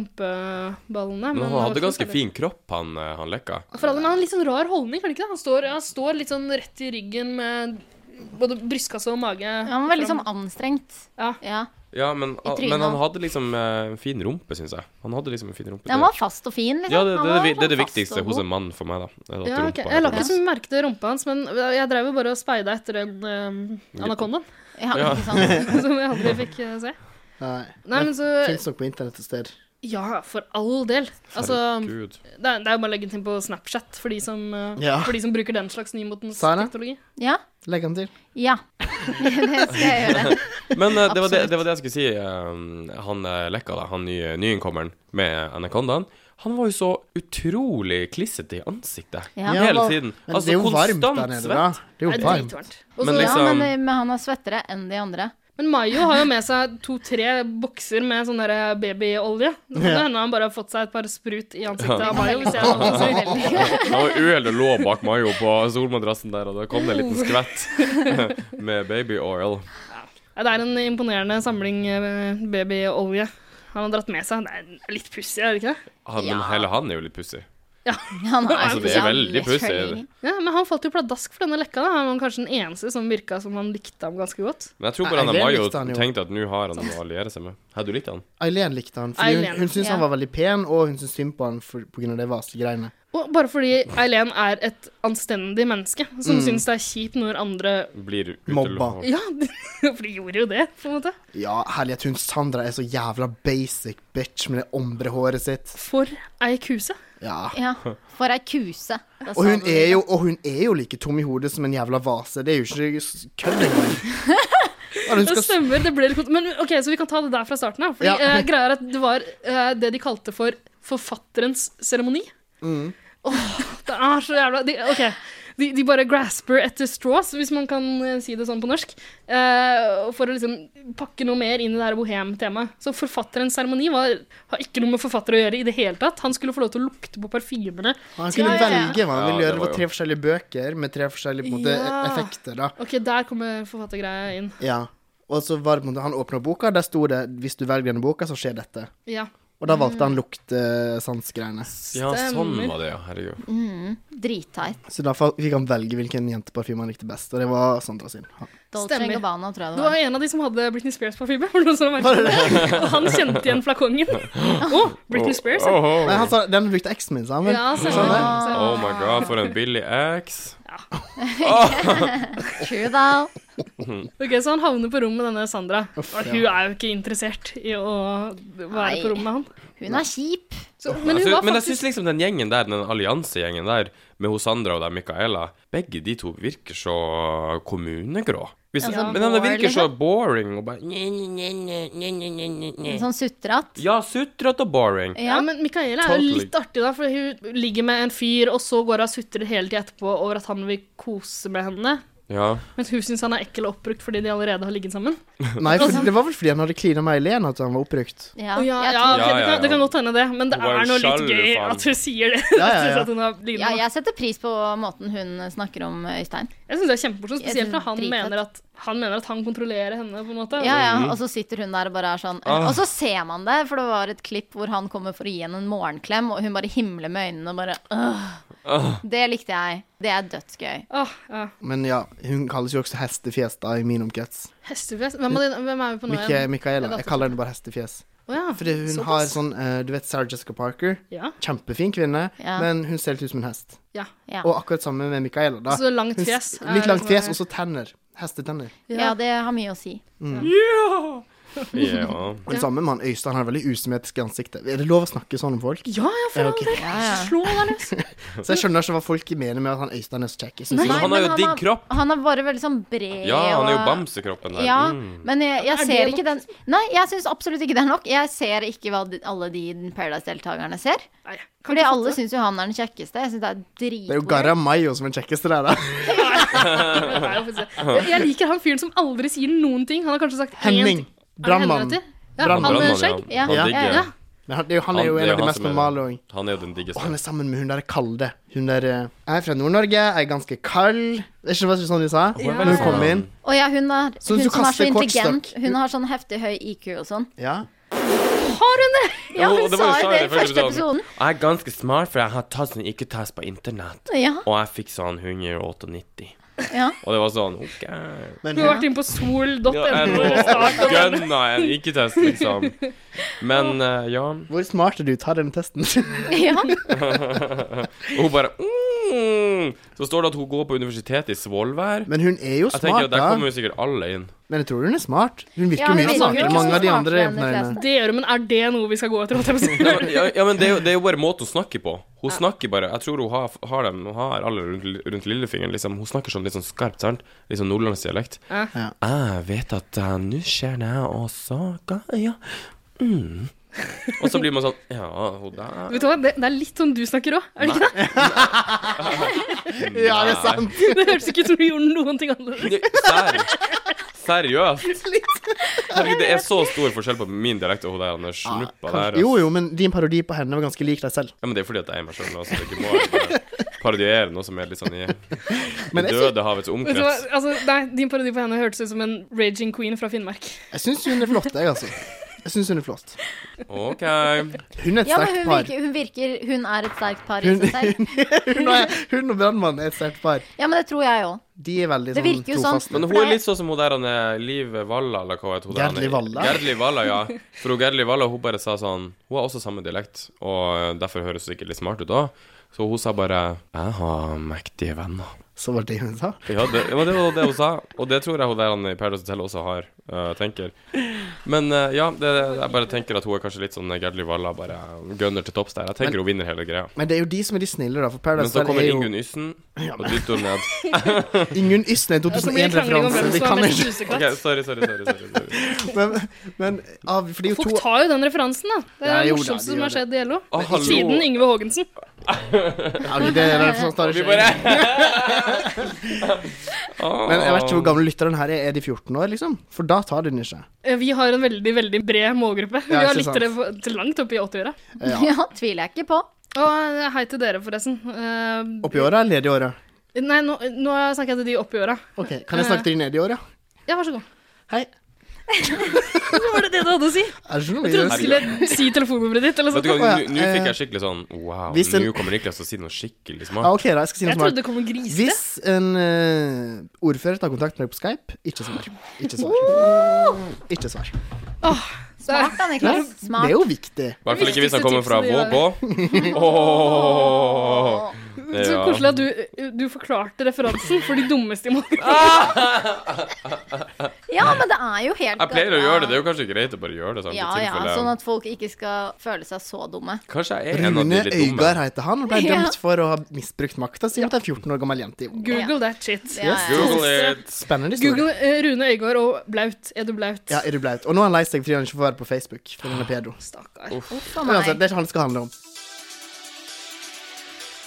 Speaker 3: rumpeballene.
Speaker 5: Men han
Speaker 3: det var
Speaker 5: hadde
Speaker 3: ikke
Speaker 5: ganske
Speaker 3: noe særlig.
Speaker 5: fin kropp, han, eh, han Lekka.
Speaker 3: For alle, men han har litt sånn rar holdning, har han ikke det? Han står, han står litt sånn rett i ryggen med både brystkasse og mage.
Speaker 1: Ja, Han var veldig sånn anstrengt.
Speaker 3: Ja.
Speaker 1: Ja.
Speaker 5: Ja, men,
Speaker 1: I trynet.
Speaker 5: men han hadde liksom eh, en fin rumpe, syns jeg. Han hadde liksom en fin rumpe.
Speaker 1: Ja, Han var fast og fin, liksom.
Speaker 5: ja, det,
Speaker 1: Han
Speaker 5: det, er
Speaker 1: var
Speaker 5: det, vi- det er det
Speaker 1: sånn fast
Speaker 5: viktigste
Speaker 1: og
Speaker 5: hos
Speaker 1: god.
Speaker 5: en mann for meg, da. Er at
Speaker 3: Ja,
Speaker 5: rumpa
Speaker 3: ok.
Speaker 5: er
Speaker 3: Jeg la
Speaker 5: på
Speaker 3: ikke
Speaker 5: plass.
Speaker 3: så merke til rumpa hans, men jeg drev jo bare og speida etter den eh, anakondaen
Speaker 1: Ja,
Speaker 5: Ja.
Speaker 1: ikke sant?
Speaker 3: som jeg aldri fikk eh, se.
Speaker 2: Nei.
Speaker 3: Nei, men så
Speaker 2: Fins nok på internett et sted.
Speaker 3: Ja, for all del. Altså, det
Speaker 5: Herregud.
Speaker 3: er, det er jo bare å legge den til på Snapchat for de som, eh,
Speaker 2: Ja.
Speaker 3: for de som bruker den slags nymotens
Speaker 2: Sara?
Speaker 3: teknologi.
Speaker 1: Ja.
Speaker 2: Legg han til.
Speaker 1: ja. Det skal jeg gjøre.
Speaker 5: Men eh, det, var det, det var det jeg skulle si. eh, han eh, Lekka, da, han nye, nyinnkommeren med Anakondaen, han var jo så utrolig klissete i ansiktet
Speaker 1: Ja.
Speaker 2: Ja,
Speaker 5: hele
Speaker 2: hva-
Speaker 5: tiden. Altså,
Speaker 2: Men det er jo varmt
Speaker 5: konstant
Speaker 2: der nede,
Speaker 5: svett.
Speaker 2: da. Det er
Speaker 3: Det
Speaker 2: jo
Speaker 3: er eh,
Speaker 2: varmt.
Speaker 3: dritvarmt. Og
Speaker 5: Men
Speaker 3: så-
Speaker 1: eh,
Speaker 5: liksom-
Speaker 1: Ja, men, men han er svettere enn de andre.
Speaker 3: Men Mayo har jo med seg to-tre bokser med sånn der babyolje. Det kan hende han bare har fått seg et par sprut i ansiktet
Speaker 5: Ja.
Speaker 3: av Mayo. Hvis jeg hadde hatt en sånn.
Speaker 5: Han var uheldig og lå bak Mayo på solmadrassen der, og da kom det en
Speaker 3: Oh.
Speaker 5: liten skvett med baby oil.
Speaker 3: Nei, Det er en imponerende samling eh, babyolje han har dratt med seg. Det er litt pussig, er det ikke det?
Speaker 5: Han, Ah, men hele han er jo litt pussig.
Speaker 1: Han er
Speaker 5: Altså, det er veldig
Speaker 1: jævlig
Speaker 5: pussig,
Speaker 1: føling.
Speaker 5: det.
Speaker 3: Ja, Men han falt jo pladask for denne lekka. da. Han var kanskje den eneste som virka som han likte ham ganske godt.
Speaker 5: Men jeg tror
Speaker 2: Nei,
Speaker 5: bare han
Speaker 2: det
Speaker 5: har Mayo
Speaker 2: likte han jo.
Speaker 5: tenkte at nå har han noe å alliere seg med. Hadde du likt han?
Speaker 2: Eileen likte han, fordi hun,
Speaker 3: Eileen,
Speaker 2: hun syntes
Speaker 1: ja.
Speaker 2: han var veldig pen, og hun syntes synd på han for, på grunn av det vaselige greiene.
Speaker 3: Og bare fordi Eileen er et anstendig menneske som syns det er kjipt når andre
Speaker 5: Blir utel-
Speaker 2: Mobba.
Speaker 3: Ja, for de gjorde jo det, på en måte.
Speaker 2: Ja, herlighet, hun Sandra er så jævla basic bitch med det ombre-håret sitt.
Speaker 3: For ei kuse.
Speaker 2: Ja.
Speaker 1: Ja, for ei kuse. Da sa
Speaker 2: Og hun
Speaker 1: du
Speaker 2: er
Speaker 1: det.
Speaker 2: jo, og hun er jo like tom i hodet som en jævla vase. Det er jo ikke s- kødd engang. Ja, hun
Speaker 3: Det
Speaker 2: skal s-
Speaker 3: stemmer. det ble litt kont- Men ok, Så vi kan ta det der fra starten av. Fordi
Speaker 2: Ja.
Speaker 3: eh, greia er at Det var eh, det de kalte for forfatterens seremoni.
Speaker 2: mm.
Speaker 3: Åh, det er så jævla de, Ok. De, de bare grasper etter straws, hvis man kan eh, si det sånn på norsk. eh, for å liksom pakke noe mer inn i det her bohem-temaet. Så forfatterens seremoni var- har ikke noe med forfatter å gjøre i det hele tatt. Han skulle få lov til å lukte på parfymene.
Speaker 2: han kunne
Speaker 1: Ja, ja, ja.
Speaker 2: velge hva han
Speaker 5: Ja,
Speaker 2: ville
Speaker 5: det
Speaker 2: gjøre. Det
Speaker 5: var
Speaker 2: var
Speaker 5: jo-
Speaker 2: tre forskjellige bøker med tre forskjellige på en måte,
Speaker 3: Ja.
Speaker 2: effekter. da
Speaker 3: Ok, der kommer forfattergreia inn.
Speaker 2: Ja Og så var det på en måte Han åpna boka, der sto det 'Hvis du velger denne boka, så skjer dette'.
Speaker 3: Ja.
Speaker 2: Og
Speaker 1: Mm.
Speaker 2: da valgte han eh, luktesansgreiene.
Speaker 5: Ja, sånn
Speaker 3: Stemmer.
Speaker 5: var det, ja. Herregud.
Speaker 1: Dritteit.
Speaker 2: Så da fa- fikk han velge hvilken jenteparfyme han likte best, og det var Sandra sin. Han-
Speaker 1: Dolce
Speaker 3: Stemmer.
Speaker 1: Gabbana, tror jeg
Speaker 3: Det
Speaker 1: det
Speaker 3: var
Speaker 1: var.
Speaker 3: en av de som hadde Britney Spears-parfyme. var det noen som merket det? Og han kjente igjen flakongen. Å, Britney Spears! ja.
Speaker 5: Oh, oh.
Speaker 2: Nei, han sa den brukte eksen min, sa han vel.
Speaker 3: Ja, stemmer. Sånn
Speaker 5: oh my god, for en billig ex.
Speaker 1: True, da.
Speaker 3: Ok, Så han havner på rom med denne Sandra. Og hun er jo ikke interessert i å være
Speaker 1: Nei.
Speaker 3: på rom med han.
Speaker 1: Hun er kjip.
Speaker 3: Så, men
Speaker 1: Altså,
Speaker 3: hun
Speaker 5: jeg
Speaker 3: var
Speaker 5: synes, men jeg syns
Speaker 3: faktisk
Speaker 5: liksom den gjengen der, den alliansegjengen der, med hun Sandra og den Micaela, begge de to virker så kommunegrå. Hvis,
Speaker 1: Ja,
Speaker 5: men de
Speaker 1: bore,
Speaker 5: virker så
Speaker 1: liksom.
Speaker 5: boring og bare nye, nye, nye.
Speaker 1: En Sånn sutrete.
Speaker 5: Ja, sutrete og boring.
Speaker 1: Ja.
Speaker 3: ja, men Micaela er jo
Speaker 5: Totally.
Speaker 3: litt artig, da, for hun ligger med en fyr, og så går hun og sutrer hele tida etterpå over at han vil kose med henne.
Speaker 5: Ja.
Speaker 3: Mens hun syns han er ekkel og oppbrukt fordi de allerede har ligget sammen.
Speaker 2: Nei, for det var vel fordi han hadde klina med Eileen at han var oppbrukt.
Speaker 1: Ja.
Speaker 3: Å, Ja,
Speaker 1: Jeg tror-
Speaker 3: ja, ok,
Speaker 5: Ja,
Speaker 3: Det,
Speaker 5: ja, ja.
Speaker 3: kan, det kan godt hende, det. Men det
Speaker 5: Hun var jo
Speaker 3: er noe litt
Speaker 5: sjalu,
Speaker 3: gøy
Speaker 5: faen.
Speaker 3: at hun sier det.
Speaker 2: Ja, ja, ja.
Speaker 3: At hun har ligget
Speaker 1: ja,
Speaker 3: med
Speaker 1: jeg setter pris på måten hun snakker om eh, Øystein.
Speaker 3: Jeg syns det er kjempemorsomt,
Speaker 1: Jeg
Speaker 3: spesielt
Speaker 1: synes
Speaker 3: når han
Speaker 1: dritfett.
Speaker 3: mener, at, han mener at han kontrollerer henne, på en måte.
Speaker 1: Ja, ja, Og så sitter hun der og bare er sånn
Speaker 5: Mm. Ah.
Speaker 1: Og så ser man det, for det var et klipp hvor han kommer for å gi henne en morgenklem, og hun bare himler med øynene og bare «Åh».
Speaker 5: Ah.»
Speaker 1: Det likte jeg. Det er dødsgøy.
Speaker 3: Åh, ja.
Speaker 2: Men ja, hun kalles jo også Hestefjes da i min omkrets.
Speaker 3: Hestefjes. Hvem, er det- hvem er vi på nå
Speaker 2: Mika-
Speaker 3: igjen?
Speaker 2: Micaela. Jeg
Speaker 3: datter-
Speaker 2: kaller henne bare Hestefjes.
Speaker 3: Å ja.
Speaker 2: Fordi hun
Speaker 3: såpass.
Speaker 2: har sånn eh, Du vet Sarah Jessica Parker?
Speaker 3: ja.
Speaker 2: Kjempefin kvinne,
Speaker 1: Ja.
Speaker 2: men hun ser litt ut som en hest.
Speaker 3: ja.
Speaker 1: Ja.
Speaker 2: Og akkurat samme med Micaela. Da.
Speaker 3: Så langt
Speaker 2: Hun
Speaker 3: fjes.
Speaker 2: s- Litt langt fjes, og så tenner. Hestetenner.
Speaker 1: Ja, det har mye å si.
Speaker 5: ja.
Speaker 2: Og det samme med han Øystein. Han har veldig usymmetrisk i ansiktet. Er det lov å snakke sånn om folk?
Speaker 3: Ja, ja, for
Speaker 2: Ja,
Speaker 3: all
Speaker 2: ok.
Speaker 3: del.
Speaker 1: Ja, ja.
Speaker 3: Slå deg løs.
Speaker 2: Så jeg skjønner ikke hva folk mener med at han Øystein er så kjekk. Jeg synes
Speaker 1: Nei,
Speaker 5: Men han har
Speaker 1: men
Speaker 5: jo digg kropp.
Speaker 1: Han er bare veldig sånn bred
Speaker 5: ja, han er jo
Speaker 1: og-
Speaker 5: bamsekroppen der.
Speaker 1: Ja,
Speaker 5: Mm.
Speaker 1: men jeg,
Speaker 3: Er
Speaker 1: jeg
Speaker 3: det
Speaker 1: ser
Speaker 3: nok,
Speaker 1: ikke den Nei, jeg syns absolutt ikke det er nok. Jeg ser ikke hva de, alle de Paradise-deltakerne ser.
Speaker 3: Nei, kan
Speaker 1: Fordi
Speaker 3: ikke
Speaker 1: alle
Speaker 3: fatte.
Speaker 1: syns jo han er den kjekkeste. Jeg syns det er
Speaker 2: Det er jo
Speaker 1: dritbra.
Speaker 2: Garam Mayo som er den kjekkeste der, da.
Speaker 3: Det er jo faktisk det. Jeg- Jeg liker han fyren som aldri sier noen ting. Han har kanskje sagt én
Speaker 2: Henning.
Speaker 3: ting. Er det
Speaker 2: Brannmannen.
Speaker 3: Henning han heter? Ja,
Speaker 2: Brannmann.
Speaker 3: han med
Speaker 5: Brannmann,
Speaker 3: skjegg.
Speaker 1: Ja.
Speaker 5: Han
Speaker 2: Ja.
Speaker 5: digger.
Speaker 3: Ja.
Speaker 2: Men han, det er jo- han er jo
Speaker 5: Han-
Speaker 2: en
Speaker 5: det er
Speaker 2: av de
Speaker 5: han
Speaker 2: mest
Speaker 5: som er-
Speaker 2: normale òg.
Speaker 5: Han er jo den
Speaker 2: Og han
Speaker 5: diggeste.
Speaker 2: er sammen med hun der kalde. Hun der eh, Jeg er fra Nord-Norge, jeg er ganske kald. Det er ikke hva sånn de sa?
Speaker 3: Ja.
Speaker 2: Når hun kom inn.
Speaker 1: Og ja, hun er
Speaker 2: Så
Speaker 1: hun
Speaker 2: du
Speaker 1: som er så
Speaker 2: kaster
Speaker 1: intelligent.
Speaker 2: kortstokk.
Speaker 1: Hun har sånn heftig høy IQ og sånn.
Speaker 2: Ja.
Speaker 1: Har hun det?! Ja,
Speaker 5: Og-
Speaker 1: hun
Speaker 5: og det
Speaker 1: sa
Speaker 5: var jo
Speaker 1: jo
Speaker 5: Sara
Speaker 1: det i første
Speaker 5: episoden.
Speaker 1: episoden.
Speaker 5: Jeg er ganske smart, for jeg har tatt som ikke tas på internett.
Speaker 1: Ja,
Speaker 5: Og jeg fikk sånn 198.
Speaker 1: ja.
Speaker 5: Og det var sånn OK.
Speaker 2: Men
Speaker 3: Du
Speaker 2: hun,
Speaker 3: har vært inne på sol.no.
Speaker 5: Ja, jeg
Speaker 3: og start
Speaker 5: må
Speaker 3: og-
Speaker 5: gønna en ikke-test, liksom. Men eh, ja.
Speaker 2: hvor smart er du? Ta den testen.
Speaker 1: ja.
Speaker 5: Og hun bare mm. Så står det at hun går på universitetet i Svolvær.
Speaker 2: Men hun er jo
Speaker 5: Jeg tenker
Speaker 2: smart,
Speaker 5: jo, Der
Speaker 2: da.
Speaker 5: kommer jo sikkert alle inn.
Speaker 2: Men jeg tror hun er smart. Hun virker
Speaker 1: Ja, hun
Speaker 2: mye
Speaker 1: virker
Speaker 2: smartere
Speaker 1: jo
Speaker 2: enn mange av de
Speaker 1: smartere
Speaker 2: andre
Speaker 1: enn de
Speaker 2: jentene der inne.
Speaker 3: Det gjør hun, men er det noe vi skal gå etter? holdt jeg på å si?
Speaker 5: Ja, men- ja, ja, men det er, jo, det er jo bare måten hun snakker på. Hun snakker bare Jeg tror hun har, har dem Hun har alle rundt, rundt lillefingeren, liksom. Hun snakker sånn litt sånn skarpt, sant? Litt sånn nordlandsdialekt.
Speaker 3: Ja.
Speaker 2: Ja.
Speaker 5: Jeg vet at eh, nå skjer det, og så ga Ja. Mm. Og så blir man sånn Ja, hun der
Speaker 3: Vet du hva, det, det er litt sånn du snakker òg, er det ikke det?
Speaker 2: Ja, det er sant.
Speaker 3: Det høres ikke ut som du gjorde noen ting annerledes.
Speaker 5: Sær. Seriøst? Herregud, det er så stor forskjell på min dialekt og hun der Anders Snuppa der. altså.
Speaker 2: Kanskje- Ah, Jo, jo, men din parodi på henne var ganske lik deg selv.
Speaker 5: Ja, men det er fordi at jeg er meg sjøl nå, så det er ikke bare å parodiere noe som er litt sånn i
Speaker 2: Men
Speaker 5: men
Speaker 2: jeg
Speaker 5: døde havets
Speaker 3: Vet du hva?
Speaker 5: omkrets.
Speaker 3: Altså, nei, din parodi på henne hørtes ut som en raging queen fra Finnmark.
Speaker 2: Jeg syns hun er flott, jeg, altså. Jeg synes hun er flott.
Speaker 5: OK.
Speaker 2: Hun er et
Speaker 1: Ja, men
Speaker 2: sterkt
Speaker 1: hun
Speaker 2: par.
Speaker 1: virker, hun virker Hun er et sterkt par i
Speaker 2: Hun,
Speaker 1: seg selv.
Speaker 2: hun, og- hun og brannmannen er et sterkt par.
Speaker 1: Ja, men det tror jeg òg.
Speaker 2: De er veldig
Speaker 1: Det
Speaker 2: sånn
Speaker 1: virker jo sånn.
Speaker 2: trofaste.
Speaker 5: Men hun er litt sånn som hun der han er Liv Valla, eller hva heter hun? der han er?
Speaker 2: Gerdli Valla?
Speaker 5: Gerdli Valla, ja. For hun Gerdli Valla hun bare sa sånn Hun har også samme dialekt, og derfor høres hun sikkert litt smart ut òg. Så hun sa bare 'Jeg har mektige venner'.
Speaker 2: Så var det det hun sa.
Speaker 5: Ja, det, ja, men det var det hun sa, og det tror jeg hun der han i Paradise Hotel også har, eh, tenker. Men eh, ja, det, jeg bare tenker at hun er kanskje litt sånn Gerdli Valla, bare gunner til topps der. Jeg tenker hun vinner hele greia.
Speaker 2: Men det er jo de som er de snille, da. For
Speaker 5: Men
Speaker 2: Paradise
Speaker 5: så
Speaker 2: Hotel
Speaker 5: kommer
Speaker 2: er jo
Speaker 5: Ingunn Yssen og dytter henne ned.
Speaker 2: Ingunn Ysne, en
Speaker 3: Altså, mye krangling om
Speaker 2: 2001-referanse.
Speaker 3: hvem
Speaker 2: Vi
Speaker 3: som var
Speaker 2: kan
Speaker 3: mest
Speaker 2: ikke
Speaker 5: OK,
Speaker 3: lusekatt.
Speaker 5: sorry, sorry, sorry. sorry, sorry.
Speaker 2: Men, men av, for det er jo
Speaker 3: Folk
Speaker 2: to
Speaker 3: tar jo den referansen, da. Det
Speaker 2: Ja, jo
Speaker 3: er det
Speaker 2: da, de
Speaker 3: morsomste som
Speaker 2: gjør
Speaker 3: har skjedd i LO.
Speaker 5: Å, hallo.
Speaker 3: Siden Yngve Haagensen.
Speaker 2: ja, det er referansen tar
Speaker 5: Vi
Speaker 2: ikke
Speaker 5: bare
Speaker 2: jeg. Men jeg vet ikke hvor gamle lytteren her er. Er de 14 år, liksom? For da tar de den ikke.
Speaker 3: Eh, Vi har en veldig veldig bred målgruppe. Vi
Speaker 2: Ja,
Speaker 3: har
Speaker 2: ikke
Speaker 3: lyttere på- til langt opp i 80-åra.
Speaker 1: Ja. tviler jeg ikke på.
Speaker 3: Og eh, hei til dere, forresten. Eh,
Speaker 2: Oppi åra eller nedi åra?
Speaker 3: nei, nå, nå snakker jeg til de oppi åra.
Speaker 2: Ok, kan
Speaker 3: eh.
Speaker 2: jeg snakke til de nedi åra?
Speaker 3: Ja, vær så god.
Speaker 2: Hei.
Speaker 3: Hva var det det du hadde å si? Jeg
Speaker 2: Er det ikke noe
Speaker 3: trodde du
Speaker 2: videre?
Speaker 3: skulle si telefonnummeret ditt. eller sånn.
Speaker 5: Vet
Speaker 3: sånt.
Speaker 5: du hva,
Speaker 2: Å, ja,
Speaker 5: nå- nå fikk
Speaker 2: eh,
Speaker 5: jeg skikkelig sånn Wow,
Speaker 2: hvis en-
Speaker 5: nå kommer Niklas til å si noe skikkelig
Speaker 2: Ja,
Speaker 5: smart.
Speaker 2: ok, da. Jeg skal si
Speaker 3: Jeg
Speaker 2: noe
Speaker 3: trodde
Speaker 2: smart.
Speaker 3: det kom en gris til.
Speaker 2: Hvis en eh, ordfører tar kontakt med deg på Skype, ikke svar. Ikke svar. Ikke svar.
Speaker 1: Smart da,
Speaker 2: Nei,
Speaker 1: Niklas.
Speaker 2: Det
Speaker 1: Smart.
Speaker 2: er jo viktig.
Speaker 5: I hvert fall ikke hvis
Speaker 3: Viktigste
Speaker 5: han kommer fra
Speaker 3: tipset
Speaker 5: Vågå. Åh,
Speaker 3: Så
Speaker 5: ja.
Speaker 3: koselig at du, du forklarte referansen for de dummeste i målgruppen.
Speaker 1: Ja, men det er jo helt
Speaker 5: Jeg pleier å gjøre det. Det er jo kanskje greit å bare gjøre det. Sånn,
Speaker 1: Ja, ja, sånn at folk ikke skal føle seg så dumme.
Speaker 5: Kanskje jeg er en av
Speaker 2: Rune
Speaker 5: de litt dumme.
Speaker 2: Øygard heter han og ble
Speaker 1: Ja.
Speaker 2: dømt for å ha misbrukt makta si mot ei 14 år gammel jente. i-
Speaker 3: Google that shit.
Speaker 1: Ja, ja.
Speaker 5: Google it.
Speaker 2: Spennende historie.
Speaker 3: Google eh, Rune Øygård og blaut. Er du blaut?
Speaker 2: Ja, er du blaut? Og nå er han lei seg fordi han ikke får være på Facebook. Fordi han er pedo.
Speaker 3: Stakkar.
Speaker 1: Uff a
Speaker 2: Uansett,
Speaker 1: meg.
Speaker 2: altså, det er ikke han det skal handle om.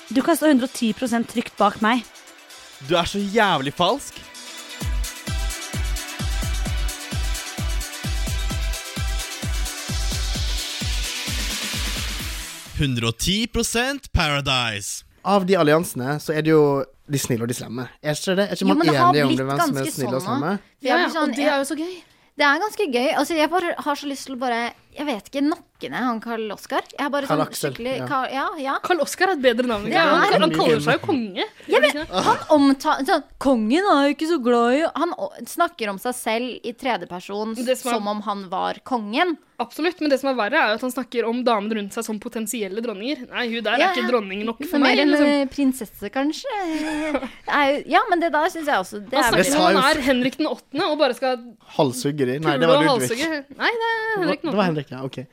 Speaker 8: Du kan stå 110 trygt bak meg.
Speaker 7: Du er så jævlig falsk. «110% Paradise.
Speaker 2: Av de alliansene så er det jo de snille og de slemme. Er ikke det? Er ikke
Speaker 1: Jo,
Speaker 2: man
Speaker 1: men det har
Speaker 2: enig om
Speaker 1: blitt
Speaker 2: det, hvem som er
Speaker 1: ganske
Speaker 2: snille og
Speaker 1: sånn
Speaker 2: slemme?
Speaker 1: nå. For
Speaker 3: Ja,
Speaker 1: jeg
Speaker 3: ja,
Speaker 1: blir sånn,
Speaker 3: og det er jo så gøy.
Speaker 1: Det er ganske gøy. Altså, jeg bare har så lyst til å bare Jeg vet ikke. Nakke ned han Karl Oskar. Jeg er bare
Speaker 2: Karl
Speaker 1: sånn
Speaker 2: Aksel,
Speaker 1: skikkelig
Speaker 2: ja.
Speaker 1: Karl, ja, ja.
Speaker 3: Carl Oskar er et bedre navn.
Speaker 1: Ja,
Speaker 3: Ja, han, han
Speaker 2: det er
Speaker 3: kaller
Speaker 2: mye.
Speaker 3: seg jo konge.
Speaker 1: Jeg vet, han omtaler sånn, Kongen er jo ikke så glad i Han o- snakker om seg selv i tredjeperson
Speaker 3: Det som er-
Speaker 1: som om han var kongen.
Speaker 3: Absolutt, men det som er verre, er jo at han snakker om damene rundt seg som potensielle dronninger. Nei, hun der
Speaker 1: Ja,
Speaker 3: er ikke
Speaker 1: ja.
Speaker 3: dronning nok
Speaker 1: Hun
Speaker 3: for
Speaker 1: er
Speaker 3: meg.
Speaker 1: mer en
Speaker 3: Liksom.
Speaker 1: eh, prinsesse, kanskje. Er jo- Ja, men det der syns jeg også Det er
Speaker 3: Han
Speaker 1: veldig
Speaker 3: snakker
Speaker 2: sa
Speaker 3: som om han
Speaker 2: jo-
Speaker 3: er Henrik den åttende og bare skal
Speaker 2: Halshugger de? Nei, det
Speaker 3: pule
Speaker 2: var
Speaker 3: og
Speaker 2: Ludvig.
Speaker 3: halshugge. Nei, det er
Speaker 2: Det
Speaker 3: Henrik den
Speaker 2: var
Speaker 3: åttende.
Speaker 2: Henrik, ja. Ok.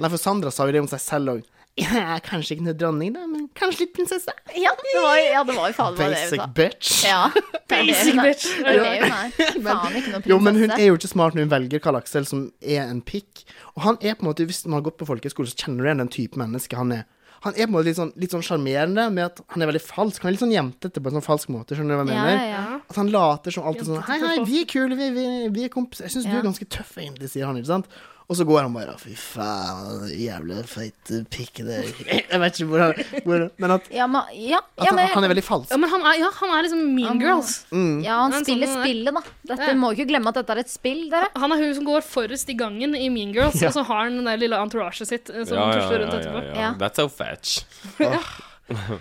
Speaker 2: Nei, for Sandra sa jo det om seg selv òg. Ja, kanskje ikke noe dronning, da, men kanskje litt prinsesse.
Speaker 1: Ja, det var, ja, det var jo faen meg det hun
Speaker 2: Basic
Speaker 1: sa.
Speaker 2: bitch.
Speaker 1: Ja,
Speaker 3: Basic bitch.
Speaker 1: Det er det hun er. Det er det hun er. Faen ikke noe prinsesse.
Speaker 2: Jo, men hun er jo ikke smart når hun velger Karl Aksel, som er en pikk. Og han er på en måte, hvis man har gått på folkehøyskole, så kjenner du igjen den type menneske han er. Han er på en måte litt sånn litt sånn sjarmerende med at han er veldig falsk. Han er litt sånn jentete på en sånn falsk måte, skjønner du hva jeg
Speaker 1: ja,
Speaker 2: mener?
Speaker 1: ja, ja.
Speaker 2: At han later som alltid sånn
Speaker 3: Jentete
Speaker 2: Hei, hei,
Speaker 3: folk.
Speaker 2: vi er kule, vi, vi, vi er kompiser. Jeg syns du
Speaker 1: Ja.
Speaker 2: er ganske tøff, egentlig, sier han, ikke sant? Og så går han bare Fy faen, jævla feite pikk det er». Jeg vet ikke hvordan, hvordan Men at,
Speaker 1: Ja, men, ja,
Speaker 2: at
Speaker 1: ja, men,
Speaker 2: Altså, han, han er veldig falsk.
Speaker 3: Ja, men han er, ja, han er liksom Mean Girls.
Speaker 1: ja, han
Speaker 3: Han er
Speaker 1: spiller
Speaker 3: sånn han er.
Speaker 1: spillet, da. Dette
Speaker 3: Ja.
Speaker 1: må ikke glemme at dette er et spill, dere.
Speaker 3: Han er hun som går forrest i gangen i Mean Girls,
Speaker 2: Ja.
Speaker 3: og så har han den der lille entouraget sitt eh, som
Speaker 5: Ja, ja,
Speaker 3: tusler rundt
Speaker 5: ja,
Speaker 3: etterpå.
Speaker 5: ja,
Speaker 1: Ja.
Speaker 5: ja. That's so fetch.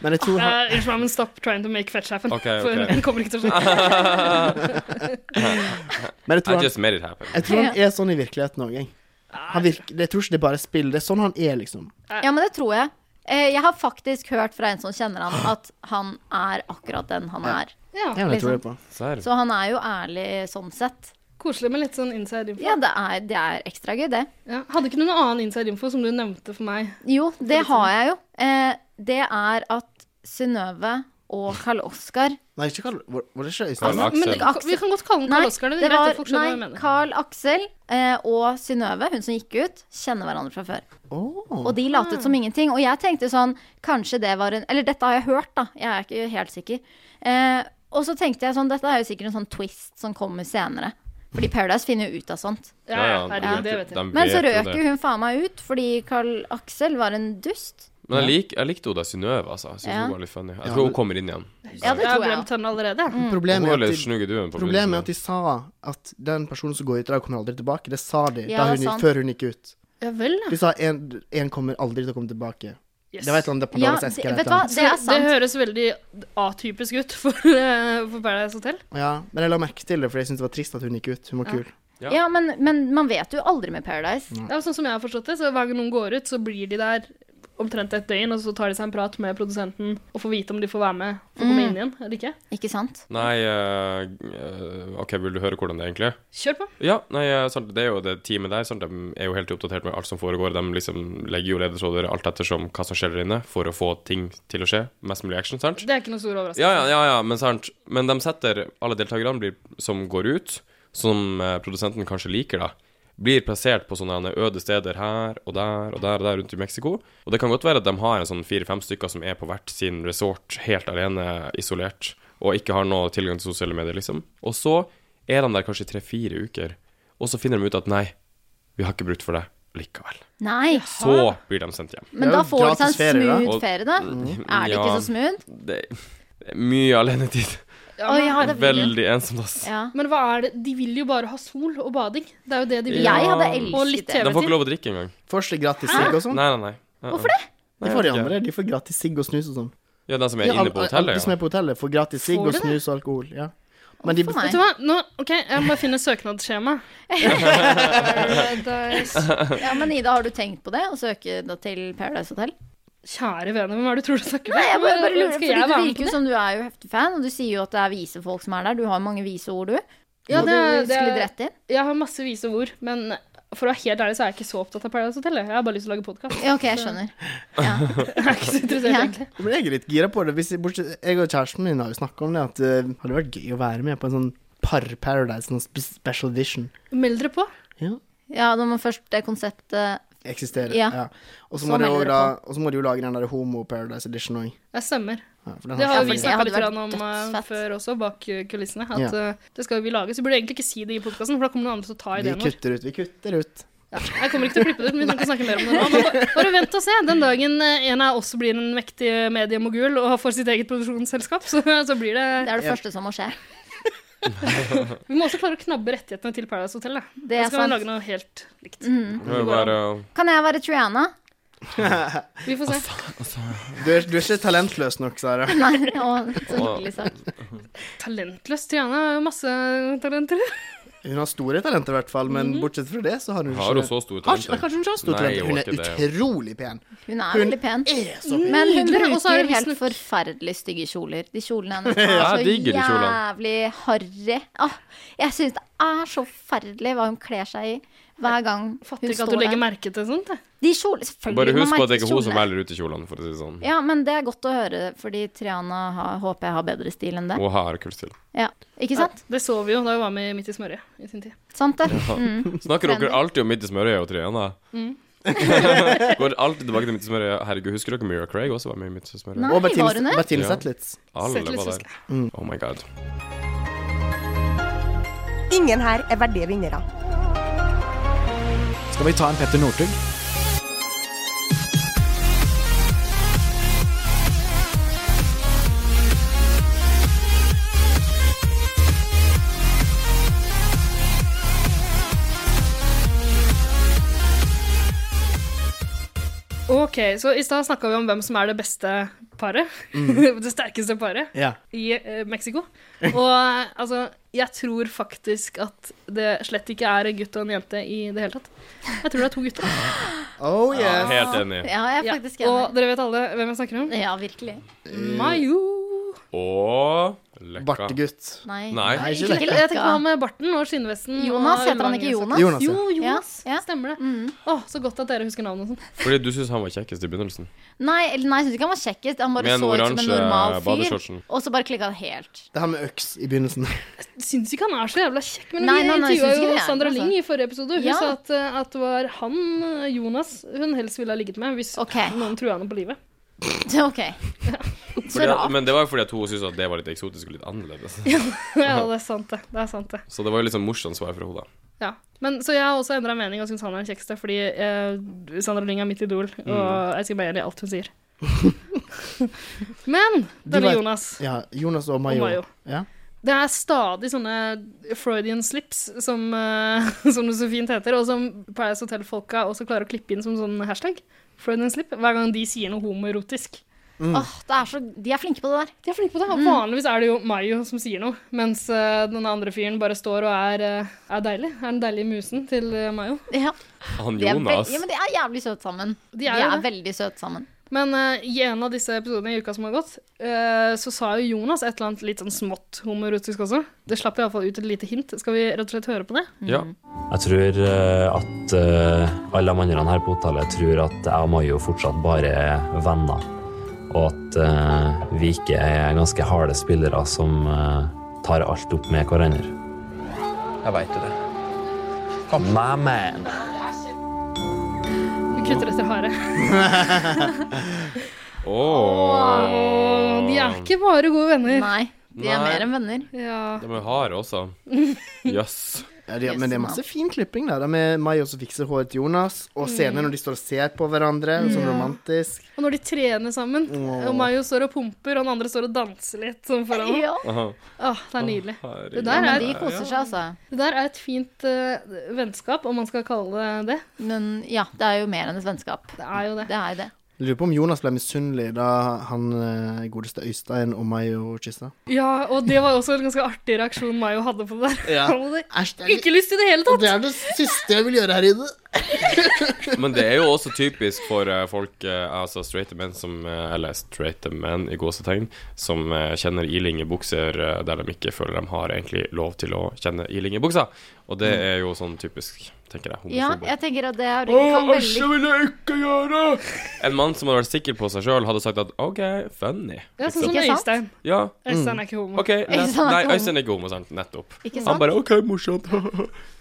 Speaker 2: Men jeg tror han
Speaker 3: Eh, Unnskyld meg, men stop trying to make fetch happen.
Speaker 5: Ok,
Speaker 3: For
Speaker 5: ok.
Speaker 3: den kommer ikke til å skje.
Speaker 2: Men jeg
Speaker 5: I
Speaker 2: tror han,
Speaker 5: just made it happen.
Speaker 2: jeg tror han er sånn i virkeligheten òg, jeg. Han virker, jeg tror ikke det er bare spill. Det er sånn han er, liksom.
Speaker 1: Ja, men det tror jeg. Eh, Jeg har faktisk hørt fra en som kjenner han, at han er akkurat den han er.
Speaker 2: Ja,
Speaker 3: Ja,
Speaker 2: men jeg tror det
Speaker 1: Liksom.
Speaker 2: på.
Speaker 5: Serr.
Speaker 1: Så han er jo ærlig sånn sett.
Speaker 3: koselig med litt sånn inside info.
Speaker 1: Ja, det er, det er ekstra gøy, det.
Speaker 3: Ja. Hadde ikke du noen annen inside info som du nevnte for meg?
Speaker 1: Jo, det
Speaker 3: sånn.
Speaker 1: har jeg jo. Eh, Det er at Synnøve og Karl Oskar
Speaker 2: Nei, ikke Karl Var var det ikke Øystein?
Speaker 5: Karl Aksel.
Speaker 3: Men vi kan godt kalle den
Speaker 1: Nei,
Speaker 3: Karl Oskar. Det
Speaker 1: det
Speaker 3: er greit
Speaker 1: var-
Speaker 3: at folk skjønner hva jeg
Speaker 1: nei,
Speaker 3: mener.
Speaker 1: Carl Aksel eh, og Synnøve, hun som gikk ut, kjenner hverandre fra før. Og de
Speaker 3: Ah.
Speaker 1: latet som ingenting. Og jeg tenkte sånn, kanskje det var en Eller dette har jeg hørt, da. Jeg er ikke helt sikker. Eh, og så tenkte jeg sånn, dette er jo sikkert en sånn twist som kommer senere. Fordi Paradise finner jo ut av sånt.
Speaker 3: Ja, ja, herregud,
Speaker 5: de
Speaker 3: det
Speaker 5: vet
Speaker 3: vet jeg.
Speaker 5: jo- de
Speaker 1: Men så
Speaker 5: vet jo
Speaker 1: røk
Speaker 5: det.
Speaker 1: jo hun faen meg ut fordi Carl Aksel var en dust.
Speaker 5: Men jeg, lik, jeg likte Oda Synnøve, altså. Jeg synes
Speaker 1: Ja.
Speaker 5: hun var litt funny. Jeg
Speaker 2: Ja,
Speaker 5: tror
Speaker 2: men-
Speaker 5: hun kommer inn igjen.
Speaker 1: Ja, det
Speaker 3: Jeg har
Speaker 1: tror jeg.
Speaker 3: glemt henne allerede.
Speaker 1: Mm.
Speaker 5: Hun
Speaker 2: Problemet
Speaker 5: var
Speaker 2: er,
Speaker 5: litt
Speaker 2: at de,
Speaker 5: snugg i duen på
Speaker 2: problemet er at
Speaker 5: begynnelsen.
Speaker 2: de sa at den personen som går ut i dag, kommer aldri tilbake. Det sa de
Speaker 1: Ja,
Speaker 2: da hun,
Speaker 1: sant.
Speaker 2: før hun gikk ut.
Speaker 3: Ja vel, ja.
Speaker 2: De sa en, en kommer aldri til å komme tilbake.
Speaker 3: Yes.
Speaker 2: Det sånn- var et eller annet
Speaker 1: Ja,
Speaker 2: Paradise
Speaker 1: det,
Speaker 2: Esk eller et
Speaker 1: vet
Speaker 2: eller
Speaker 1: du hva,
Speaker 2: annet.
Speaker 1: det er
Speaker 3: Det
Speaker 1: sant.
Speaker 3: høres veldig atypisk ut for, eh, for Paradise Hotel.
Speaker 2: Ja, men jeg la merke til det, for jeg syntes det var trist at hun gikk ut. Hun var
Speaker 3: Ja.
Speaker 2: kul.
Speaker 5: Ja.
Speaker 1: Ja, men, men man vet jo aldri med Paradise.
Speaker 2: Mm.
Speaker 3: Ja, sånn som jeg har forstått det, så Hver gang noen går ut, så blir de der omtrent et døgn, og så tar de seg en prat med produsenten og får vite om de får være med for å komme
Speaker 1: Mm.
Speaker 3: inn igjen eller ikke.
Speaker 1: Ikke sant?
Speaker 5: Nei, eh, eh, OK, vil du høre hvordan det egentlig er?
Speaker 3: Kjør på.
Speaker 5: Ja, nei, eh, sant, det er jo det teamet der. Sant, de er jo helt oppdatert med alt som foregår. De liksom legger jo ledetråder alt ettersom hva som skjer der inne, for å få ting til å skje. Mest mulig action, sant?
Speaker 3: Det er ikke noe stor overraskelse.
Speaker 5: Ja, ja, ja, ja men sant. Men de setter alle deltakerne blir- som går ut, som eh, produsenten kanskje liker, da, blir plassert på sånne øde steder her og der og der og der rundt i Mexico. Og det kan godt være at de har en sånn fire-fem stykker som er på hvert sin resort, helt alene, isolert, og ikke har noe tilgang til sosiale medier, liksom. Og så er de der kanskje i tre-fire uker, og så finner de ut at nei, vi har ikke bruk for deg likevel.
Speaker 1: Nei.
Speaker 5: Så blir de sendt hjem.
Speaker 2: Det
Speaker 1: Men
Speaker 2: er
Speaker 1: da
Speaker 2: jo
Speaker 1: får de seg
Speaker 2: gratis ferie,
Speaker 1: en
Speaker 2: da.
Speaker 1: smooth
Speaker 5: Og- Mm.
Speaker 1: ferie, da. Er det ikke
Speaker 5: Ja.
Speaker 1: så smooth?
Speaker 5: Det det er mye alenetid.
Speaker 3: Ja,
Speaker 1: Å
Speaker 3: men,
Speaker 1: ja, det vil jeg.
Speaker 5: Veldig ensomt, ass.
Speaker 1: Ja.
Speaker 3: men hva er det? De vil jo bare ha sol og bading. Det er jo det de vil.
Speaker 1: Jeg hadde
Speaker 3: Og litt
Speaker 1: elsket det.
Speaker 3: TV
Speaker 5: De får
Speaker 3: til.
Speaker 5: ikke lov å drikke engang.
Speaker 2: Får ikke gratis sigg og sånn.
Speaker 5: Nei, nei, nei. Hvorfor det?
Speaker 2: De får de andre. De får gratis sigg og snus og sånn.
Speaker 5: Ja, den som er
Speaker 2: Ja,
Speaker 5: inne
Speaker 2: alle-
Speaker 5: på
Speaker 2: Alle
Speaker 5: hotellet,
Speaker 2: som
Speaker 5: ja.
Speaker 2: er på hotellet, får gratis sigg
Speaker 3: Får
Speaker 2: og
Speaker 3: de det?
Speaker 2: snus og alkohol. Ja. Men de,
Speaker 1: Hvorfor
Speaker 3: Vet du hva? Nå, ok, Jeg må bare finne søknadsskjema. Paradise.
Speaker 1: Ja, men Ida, har du tenkt på det? Å søke da til Paradise Hotel?
Speaker 3: Kjære vene, hvem er det du tror du snakker
Speaker 1: Nei, jeg bare, bare lurer,
Speaker 3: Skal
Speaker 1: fordi
Speaker 3: jeg
Speaker 1: du
Speaker 3: være med
Speaker 1: virker
Speaker 3: på
Speaker 1: jo
Speaker 3: det?
Speaker 1: som du er jo heftig fan, og du sier jo at det er vise folk som er der. Du har mange vise ord, du.
Speaker 3: Ja,
Speaker 1: Må
Speaker 3: det er-
Speaker 1: du
Speaker 3: det er-
Speaker 1: skli rett inn.
Speaker 3: Jeg har masse vise ord, men for å være helt ærlig så er jeg ikke så opptatt av Paradise Hotel. Jeg har bare lyst til å lage podkast.
Speaker 1: Ja, OK, jeg skjønner.
Speaker 3: Jeg er ikke så interessert,
Speaker 1: Ja.
Speaker 3: egentlig.
Speaker 2: Men jeg er litt gira på det. Hvis jeg, bortsett, jeg og kjæresten min har jo snakka om det, at det hadde vært gøy å være med på en sånn par-Paradise, noen spe special edition.
Speaker 3: Meld dere på.
Speaker 1: Ja, da må først det konseptet
Speaker 2: Eksisterer.
Speaker 1: Ja.
Speaker 2: Ja. Og så
Speaker 1: Så
Speaker 2: må, de
Speaker 1: melder
Speaker 2: jo
Speaker 1: det
Speaker 2: da, og så må de jo lage den der homo-Paradise edition òg.
Speaker 3: Jeg stemmer.
Speaker 2: Ja, for den
Speaker 3: Det har
Speaker 2: har
Speaker 3: jo
Speaker 1: Ja,
Speaker 3: vi
Speaker 1: men det
Speaker 3: snakka
Speaker 1: hadde
Speaker 3: litt
Speaker 1: vært
Speaker 3: grann om eh,
Speaker 1: dødsfett.
Speaker 3: før også, bak eh, kulissene. At
Speaker 2: Ja.
Speaker 3: eh, det skal jo vi lage. Så burde jeg egentlig ikke si det i podkasten, for da kommer noen andre til å ta
Speaker 2: vi
Speaker 3: ideen vår.
Speaker 2: kutter ut. Vi kutter ut.
Speaker 3: Jeg kommer ikke til å klippe det ut, men vi kan ikke snakke mer om det nå. Men bare- bare vent og se. Den dagen eh, en av oss blir en mektig mediemogul og får sitt eget produksjonsselskap, så, så blir
Speaker 1: Det
Speaker 3: det
Speaker 1: er det
Speaker 2: Ja.
Speaker 1: første som må skje.
Speaker 3: Vi må også klare å knabbe rettighetene til Paradise Hotel, da.
Speaker 1: Det
Speaker 3: Da
Speaker 1: er
Speaker 3: skal vi
Speaker 1: sant. Mm.
Speaker 3: lage noe helt likt.
Speaker 5: Det er jo bare
Speaker 1: Kan jeg være Triana?
Speaker 3: Vi får se.
Speaker 2: Du er, du er ikke talentløs nok, Sara.
Speaker 1: Nei, å, så hyggelig sagt.
Speaker 3: Talentløs Triana har jo masse talenter.
Speaker 2: Hun har store talenter, i hvert fall, men bortsett fra det, så har hun
Speaker 5: Har hun så store
Speaker 2: Har ikke-
Speaker 5: talenter?
Speaker 2: Kanskje hun ikke har store
Speaker 5: Nei,
Speaker 2: talenter.
Speaker 5: hun
Speaker 2: Hun
Speaker 5: har
Speaker 2: er
Speaker 5: ikke det.
Speaker 2: utrolig pen.
Speaker 1: Hun er
Speaker 2: Hun
Speaker 1: veldig pen.
Speaker 2: Er så pen.
Speaker 1: Men hun
Speaker 3: Nydelig, og så er
Speaker 1: bruker
Speaker 3: det
Speaker 1: helt
Speaker 3: visstnok-
Speaker 1: forferdelig stygge kjoler. De kjolene hennes
Speaker 5: Ja,
Speaker 1: er
Speaker 5: jeg
Speaker 1: så
Speaker 5: digger de kjolene.
Speaker 1: jævlig harry. Åh, jeg syns det er så forferdelig hva hun kler seg i hver gang
Speaker 3: Fatter
Speaker 1: hun
Speaker 3: ikke at du
Speaker 1: står
Speaker 3: legger
Speaker 1: der.
Speaker 3: merke til sånt. jeg.
Speaker 1: De kjolene, selvfølgelig.
Speaker 5: Bare
Speaker 1: man
Speaker 5: husk på at det
Speaker 1: merker
Speaker 5: er ikke hun som
Speaker 1: kjolene.
Speaker 5: velger ut i kjolene, for å si det sånn.
Speaker 1: Ja, men det er godt å høre, fordi Triana har, håper jeg har bedre stil enn det.
Speaker 5: Hun har kult stil.
Speaker 1: Ja, Ikke sant?
Speaker 3: Det så vi jo da vi var med Midt i smørøyet i sin tid.
Speaker 1: Sant det? Mm.
Speaker 5: Snakker dere
Speaker 1: Trendy.
Speaker 5: alltid om midt i smørøyet og Triana? Går alltid tilbake til midt i smørøyet. Herregud, husker dere Mira Craig også var med i midt i smørøyet?
Speaker 1: Nei,
Speaker 2: Og
Speaker 1: var hun
Speaker 2: Bertine
Speaker 1: det?
Speaker 2: Bertine
Speaker 5: Ja.
Speaker 2: Zetlitz.
Speaker 5: Alle
Speaker 3: Sett litt
Speaker 5: var
Speaker 3: husker
Speaker 5: der.
Speaker 3: jeg.
Speaker 5: Oh my god.
Speaker 9: Ingen her er verdige vinnere.
Speaker 10: Skal vi ta en Petter Northug?
Speaker 3: Ok, så i stad snakka vi om hvem som er det beste paret. det sterkeste paret
Speaker 2: Ja.
Speaker 3: i eh, Mexico. Og eh, altså, jeg tror faktisk at det slett ikke er en gutt og en jente i det hele tatt. Jeg tror det er to gutter.
Speaker 2: Oh yes.
Speaker 5: Helt enig.
Speaker 1: Ja, jeg er Eh,
Speaker 3: Ja,
Speaker 1: faktisk
Speaker 3: Og
Speaker 1: enig.
Speaker 3: dere vet alle hvem jeg snakker om?
Speaker 1: Ja, virkelig.
Speaker 3: Mayo.
Speaker 5: Og Lekka.
Speaker 2: Bartegutt.
Speaker 1: Nei.
Speaker 5: Nei.
Speaker 2: Nei, ikke
Speaker 1: Ikke
Speaker 2: det.
Speaker 3: Jeg tenker på han med barten og skinnvesten.
Speaker 1: Jonas,
Speaker 3: og
Speaker 1: heter han ikke
Speaker 3: ullvangen.
Speaker 1: Jonas?
Speaker 2: Jonas, ja.
Speaker 3: Jo, Jonas.
Speaker 1: Ja, ja.
Speaker 3: Stemmer det. Å,
Speaker 1: Mm.
Speaker 3: Så godt at dere husker navnet og sånn.
Speaker 5: Fordi du syns han var kjekkest i begynnelsen.
Speaker 1: Nei, eller nei, jeg syns ikke han var kjekkest. Han bare
Speaker 5: Med den
Speaker 1: så ut som en
Speaker 5: oransje
Speaker 1: normal fyr.
Speaker 5: badeshortsen.
Speaker 1: Og så bare klikka det helt.
Speaker 2: Det her med øks i begynnelsen.
Speaker 3: Syns ikke han er så jævla kjekk, men
Speaker 1: Nei,
Speaker 3: vi
Speaker 1: nei, nei,
Speaker 3: intervjua
Speaker 1: syns ikke
Speaker 3: jo
Speaker 1: det,
Speaker 3: Sandra
Speaker 1: altså.
Speaker 3: Lyng i forrige episode. Hun
Speaker 1: Ja.
Speaker 3: sa at, eh, at det var han, eh, Jonas, hun helst ville ha ligget med hvis
Speaker 1: Ok.
Speaker 3: noen trua henne på livet.
Speaker 1: Ok. Så
Speaker 5: Fordi at,
Speaker 1: rart.
Speaker 5: men det var jo fordi at hun syntes at det var litt eksotisk og litt annerledes.
Speaker 3: Ja, det er sant, det. det, er sant det.
Speaker 5: Så det var jo litt sånn morsomt svar fra henne, da.
Speaker 3: Ja. Men, så jeg har også endra mening og syns han er den kjekkeste, fordi eh, Sandra Lyng er mitt idol, og
Speaker 2: Mm.
Speaker 3: jeg skal bare gjøre alt hun sier. Men
Speaker 2: Du
Speaker 3: denne
Speaker 2: vet-
Speaker 3: Jonas
Speaker 2: Ja, Jonas og Mayo.
Speaker 3: Og Mayo.
Speaker 2: Ja.
Speaker 3: Det er stadig sånne Freudian slips, som, eh, som det så fint heter, og som Paradise Hotel-folka også klarer å klippe inn som sånn hashtag. Freudian slip, hver gang de sier noe homoerotisk.
Speaker 1: Åh, det er så, de er flinke på det der.
Speaker 3: De er flinke på det.
Speaker 2: Mm.
Speaker 3: og Vanligvis er det jo Mayo som sier noe, mens eh, den andre fyren bare står og er, eh, er deilig. Er den deilige musen til eh, Mayo.
Speaker 1: Ja,
Speaker 5: Han
Speaker 1: de er,
Speaker 5: Jonas.
Speaker 1: veld- ja, men de er jævlig søte sammen. De
Speaker 3: er
Speaker 1: er,
Speaker 3: jo det.
Speaker 1: veldig søte sammen.
Speaker 3: Men eh, i en av disse episodene i uka som har gått, eh, så sa jo Jonas et eller annet litt sånn smått homoerotisk også. Det slapp iallfall ut et lite hint. Skal vi rett og slett høre på det?
Speaker 5: Ja.
Speaker 10: Jeg tror eh, at eh, alle de andre her på hotellet tror at jeg og Mayo fortsatt bare er venner. Og at eh, vi ikke er ganske harde spillere som eh, tar alt opp med hverandre. Jeg veit jo det. My man.
Speaker 3: Vi kutter etter hare.
Speaker 5: Åh.
Speaker 3: Og de er ikke bare gode venner.
Speaker 1: Nei, de er
Speaker 5: Nei.
Speaker 1: mer enn venner.
Speaker 3: Ja.
Speaker 5: De er harde også. Jøss.
Speaker 2: Ja, de, men det er masse fin klipping der. da, Med Mayo som fikser håret til Jonas,
Speaker 3: Mm.
Speaker 2: og scener når de står og ser på hverandre. Sånn romantisk.
Speaker 3: Og når de trener sammen,
Speaker 2: Åh.
Speaker 3: og Mayo står og pumper, og den andre står og danser litt sånn foran ham.
Speaker 1: Ja,
Speaker 5: Aha.
Speaker 3: Åh, det er nydelig.
Speaker 5: Herregud.
Speaker 3: Det der
Speaker 1: men
Speaker 3: er,
Speaker 1: de koser seg, altså.
Speaker 3: det der er et fint eh, vennskap, om man skal kalle det det.
Speaker 1: Men ja, det er jo mer enn et vennskap.
Speaker 3: Det er jo det.
Speaker 1: Det er jo det.
Speaker 2: Lurer på om Jonas ble misunnelig da han eh, godeste Øystein og Mayo kyssa.
Speaker 3: Ja, og det var jo også en ganske artig reaksjon Mayo hadde på det der.
Speaker 2: Ja.
Speaker 3: Han hadde
Speaker 2: Æsj, det,
Speaker 3: ikke lyst i det hele tatt!
Speaker 2: er det siste jeg vil gjøre her inne.
Speaker 5: Men det er jo også typisk for eh, folk, eh, altså straighte menn som eh, Eller straighte menn i gåsetegn, som eh, kjenner iling i bukser eh, der de ikke føler de har egentlig lov til å kjenne iling i buksa. Og
Speaker 3: Mm.
Speaker 5: det er jo sånn typisk, tenker jeg,
Speaker 1: Ja,
Speaker 5: homofobe.
Speaker 1: jeg tenker at det er kan
Speaker 5: sånn Åh, æsj, det
Speaker 1: veldig
Speaker 5: vil jeg ikke gjøre! En mann som hadde vært sikker på seg sjøl, hadde sagt at OK, funny.
Speaker 3: Ja, sånn som
Speaker 1: Ikke sant?
Speaker 3: Øystein.
Speaker 5: Ja,
Speaker 2: Mm.
Speaker 3: Øystein er ikke homo.
Speaker 5: OK. Nett,
Speaker 1: Øystein er
Speaker 5: nei,
Speaker 1: ikke homo.
Speaker 5: Øystein er ikke homo, sant? Nettopp.
Speaker 1: Ikke
Speaker 5: Han
Speaker 1: sant?
Speaker 5: bare OK, morsomt.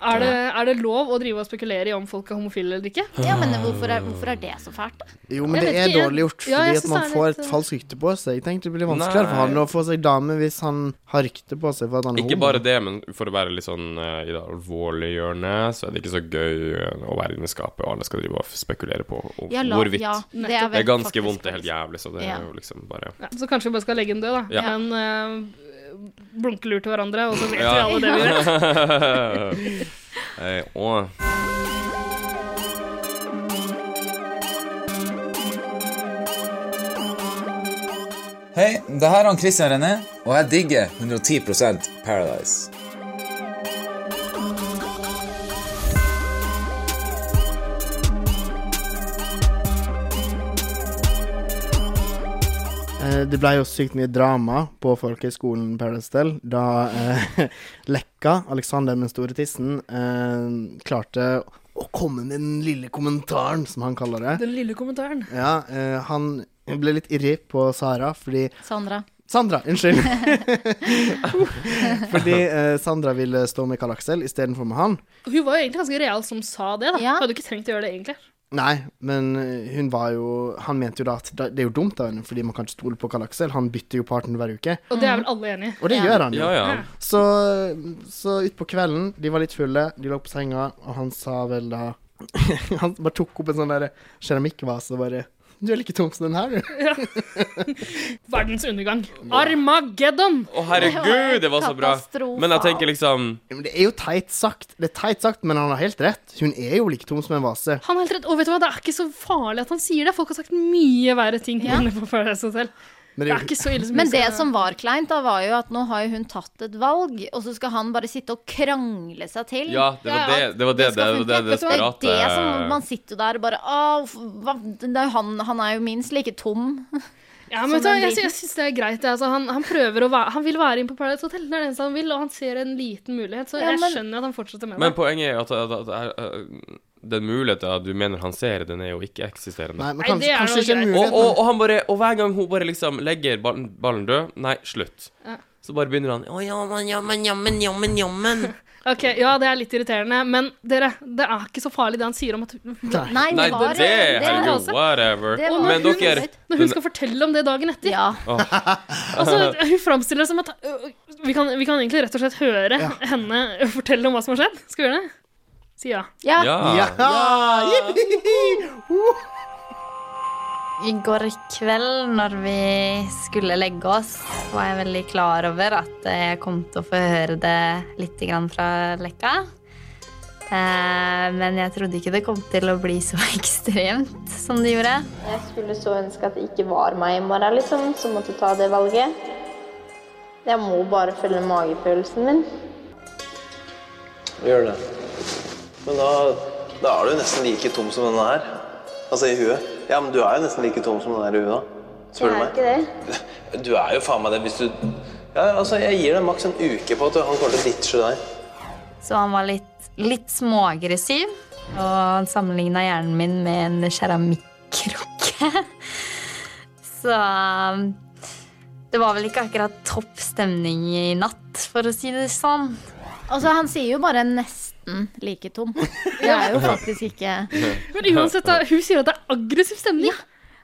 Speaker 3: Er, det, er det lov å drive og spekulere i om folk er homofile eller ikke?
Speaker 1: Ja, men hvorfor er, hvorfor er det så fælt? da?
Speaker 2: Jo, men
Speaker 3: Jeg
Speaker 2: det
Speaker 3: vet
Speaker 2: er
Speaker 3: ikke, jeg-
Speaker 2: dårlig gjort,
Speaker 3: Ja, jeg
Speaker 2: fordi at
Speaker 3: synes
Speaker 2: man
Speaker 3: det er
Speaker 2: får
Speaker 3: litt,
Speaker 2: et
Speaker 3: eh,
Speaker 2: falskt rykte på seg. Jeg tenkte det blir vanskeligere for
Speaker 5: Nei.
Speaker 2: han å få seg dame hvis han har rykte på seg for at han er
Speaker 5: Ikke bare det, men for å være litt sånn eh, i det alvorlige hjørnet, så er det ikke så gøy eh, å være inne i skapet, og alle skal drive og spekulere på om
Speaker 1: Ja, la-
Speaker 5: hvorvidt.
Speaker 1: ja, det, er
Speaker 5: det
Speaker 1: vel
Speaker 5: er ganske
Speaker 1: faktisk-
Speaker 5: vondt, det er helt jævlig, så det
Speaker 1: Ja.
Speaker 5: er jo liksom bare
Speaker 3: Ja, så kanskje vi bare skal legge den død, da.
Speaker 5: Ja.
Speaker 3: Men eh, blunkelur til hverandre, og så vet vi
Speaker 5: Ja.
Speaker 3: alle det vi gjør.
Speaker 5: Nei, åh.
Speaker 11: Hei, det her er han Christian René, og jeg digger 110 Paradise.
Speaker 2: Eh, Det ble jo sykt mye drama på folkehøyskolen Paradise Del da eh, Lekka, Alexander med den store tissen, eh, klarte å komme med den lille kommentaren, som han kaller det.
Speaker 3: Den lille kommentaren.
Speaker 2: Ja, eh, han ble litt irri på Sara fordi
Speaker 1: Sandra.
Speaker 2: Sandra, unnskyld. fordi eh, Sandra ville stå med Karl Aksel istedenfor med han.
Speaker 3: Hun var jo egentlig ganske real som sa det, da.
Speaker 1: Ja.
Speaker 3: Hun hadde jo ikke trengt å gjøre det, egentlig.
Speaker 2: Nei, men eh, hun var jo Han mente jo da at det det er jo dumt av henne, fordi man kan ikke stole på Karl Aksel. Han bytter jo partner hver uke,
Speaker 3: Og det er vel alle enig i.
Speaker 2: og det gjør han jo.
Speaker 5: Ja, ja.
Speaker 2: Så, så utpå kvelden, de var litt fulle, de lå på senga, og han sa vel da Han bare tok opp en sånn der keramikkvase og bare Du er like tom som den her, du.
Speaker 3: Verdens undergang. Armageddon!
Speaker 5: Å, herregud, det var så bra.
Speaker 1: Katastrofe.
Speaker 5: Men jeg tenker liksom
Speaker 2: Men det er jo teit sagt. Det er teit sagt, men han har helt rett. Hun er jo like tom som en vase.
Speaker 3: Han er helt rett. Og vet du hva, det er ikke så farlig at han sier det. Folk har sagt mye verre ting
Speaker 1: Ja.
Speaker 3: inne på Paradise Hotel.
Speaker 2: Men
Speaker 3: Det
Speaker 2: det
Speaker 3: er
Speaker 2: er jo
Speaker 3: ikke så ille som
Speaker 1: Men
Speaker 3: hun
Speaker 1: det
Speaker 3: sier.
Speaker 1: som var kleint, da var jo at nå har jo hun tatt et valg, og så skal han bare sitte og krangle seg til.
Speaker 5: Ja, det var det det var det, det, var det,
Speaker 1: Vet du hva,
Speaker 5: desperate
Speaker 1: det er det som Man sitter jo der og bare «Å, f- hva, det er jo han, han er jo minst like tom.
Speaker 3: Ja, men vet du,
Speaker 1: som
Speaker 3: hva,
Speaker 1: en
Speaker 3: jeg,
Speaker 1: liten-
Speaker 3: jeg syns det er greit. jeg. Altså, han, han prøver å være Han vil være inne på Paradise Hotel, det er det eneste han vil, og han ser en liten mulighet, så
Speaker 1: Ja,
Speaker 3: jeg
Speaker 1: men-
Speaker 3: skjønner at han fortsetter med
Speaker 5: eh, Men
Speaker 3: det.
Speaker 5: poenget er at, at, at, at, at den muligheten du mener han ser, den er jo ikke-eksisterende.
Speaker 2: Nei, men
Speaker 3: Nei,
Speaker 2: kanskje,
Speaker 3: det er noe
Speaker 2: kanskje ikke en
Speaker 3: greit.
Speaker 5: Og,
Speaker 2: mulighet.
Speaker 5: og, og, han bare, og hver gang hun bare liksom legger ballen, ballen død Nei, slutt.
Speaker 3: Ja.
Speaker 5: Så bare begynner han Å, ja, men, ja, men, ja, men, ja, men, ja, men.
Speaker 3: Ok, Ja, det er litt irriterende, men dere, det er ikke så farlig det han sier om at
Speaker 1: Nei,
Speaker 5: Nei, det, det,
Speaker 1: altså-
Speaker 5: herregud, whatever.
Speaker 3: Og når,
Speaker 5: Men
Speaker 3: hun,
Speaker 5: dere
Speaker 3: når hun skal fortelle om det dagen etter
Speaker 5: Åh.
Speaker 3: Altså, Hun framstiller det som at øh, vi kan, vi kan egentlig rett og slett høre henne fortelle om hva som har skjedd. Skal vi gjøre det? Si ja.
Speaker 12: Ja.
Speaker 2: Ja.
Speaker 12: I går kveld, når vi skulle legge oss, var jeg veldig klar over at jeg kom til å få høre det litt grann fra Lekka. Eh, Men jeg trodde ikke det kom til å bli så ekstremt som det gjorde. Jeg skulle så ønske at det ikke var meg i morgen, liksom, som måtte ta det valget. Jeg må bare følge magefølelsen min.
Speaker 13: Gjør det. Men da, da er du jo nesten like tom som denne her. Altså i huet. Ja, men du er jo nesten like tom som den her i huet, da. Spør du meg.
Speaker 12: det.
Speaker 13: Du er jo faen meg det hvis du Ja, altså, jeg gir deg maks en uke på at han kommer til å ditche deg.
Speaker 12: Så han var litt, litt småaggressiv. Og han sammenligna hjernen min med en keramikkrukke. Så um, det var vel ikke akkurat topp stemning i natt, for å si det sånn.
Speaker 1: Altså, han sier jo bare 'nesten like tom'. Det er jo faktisk ikke
Speaker 3: Men uansett, da, hun sier at det er aggressiv stemning.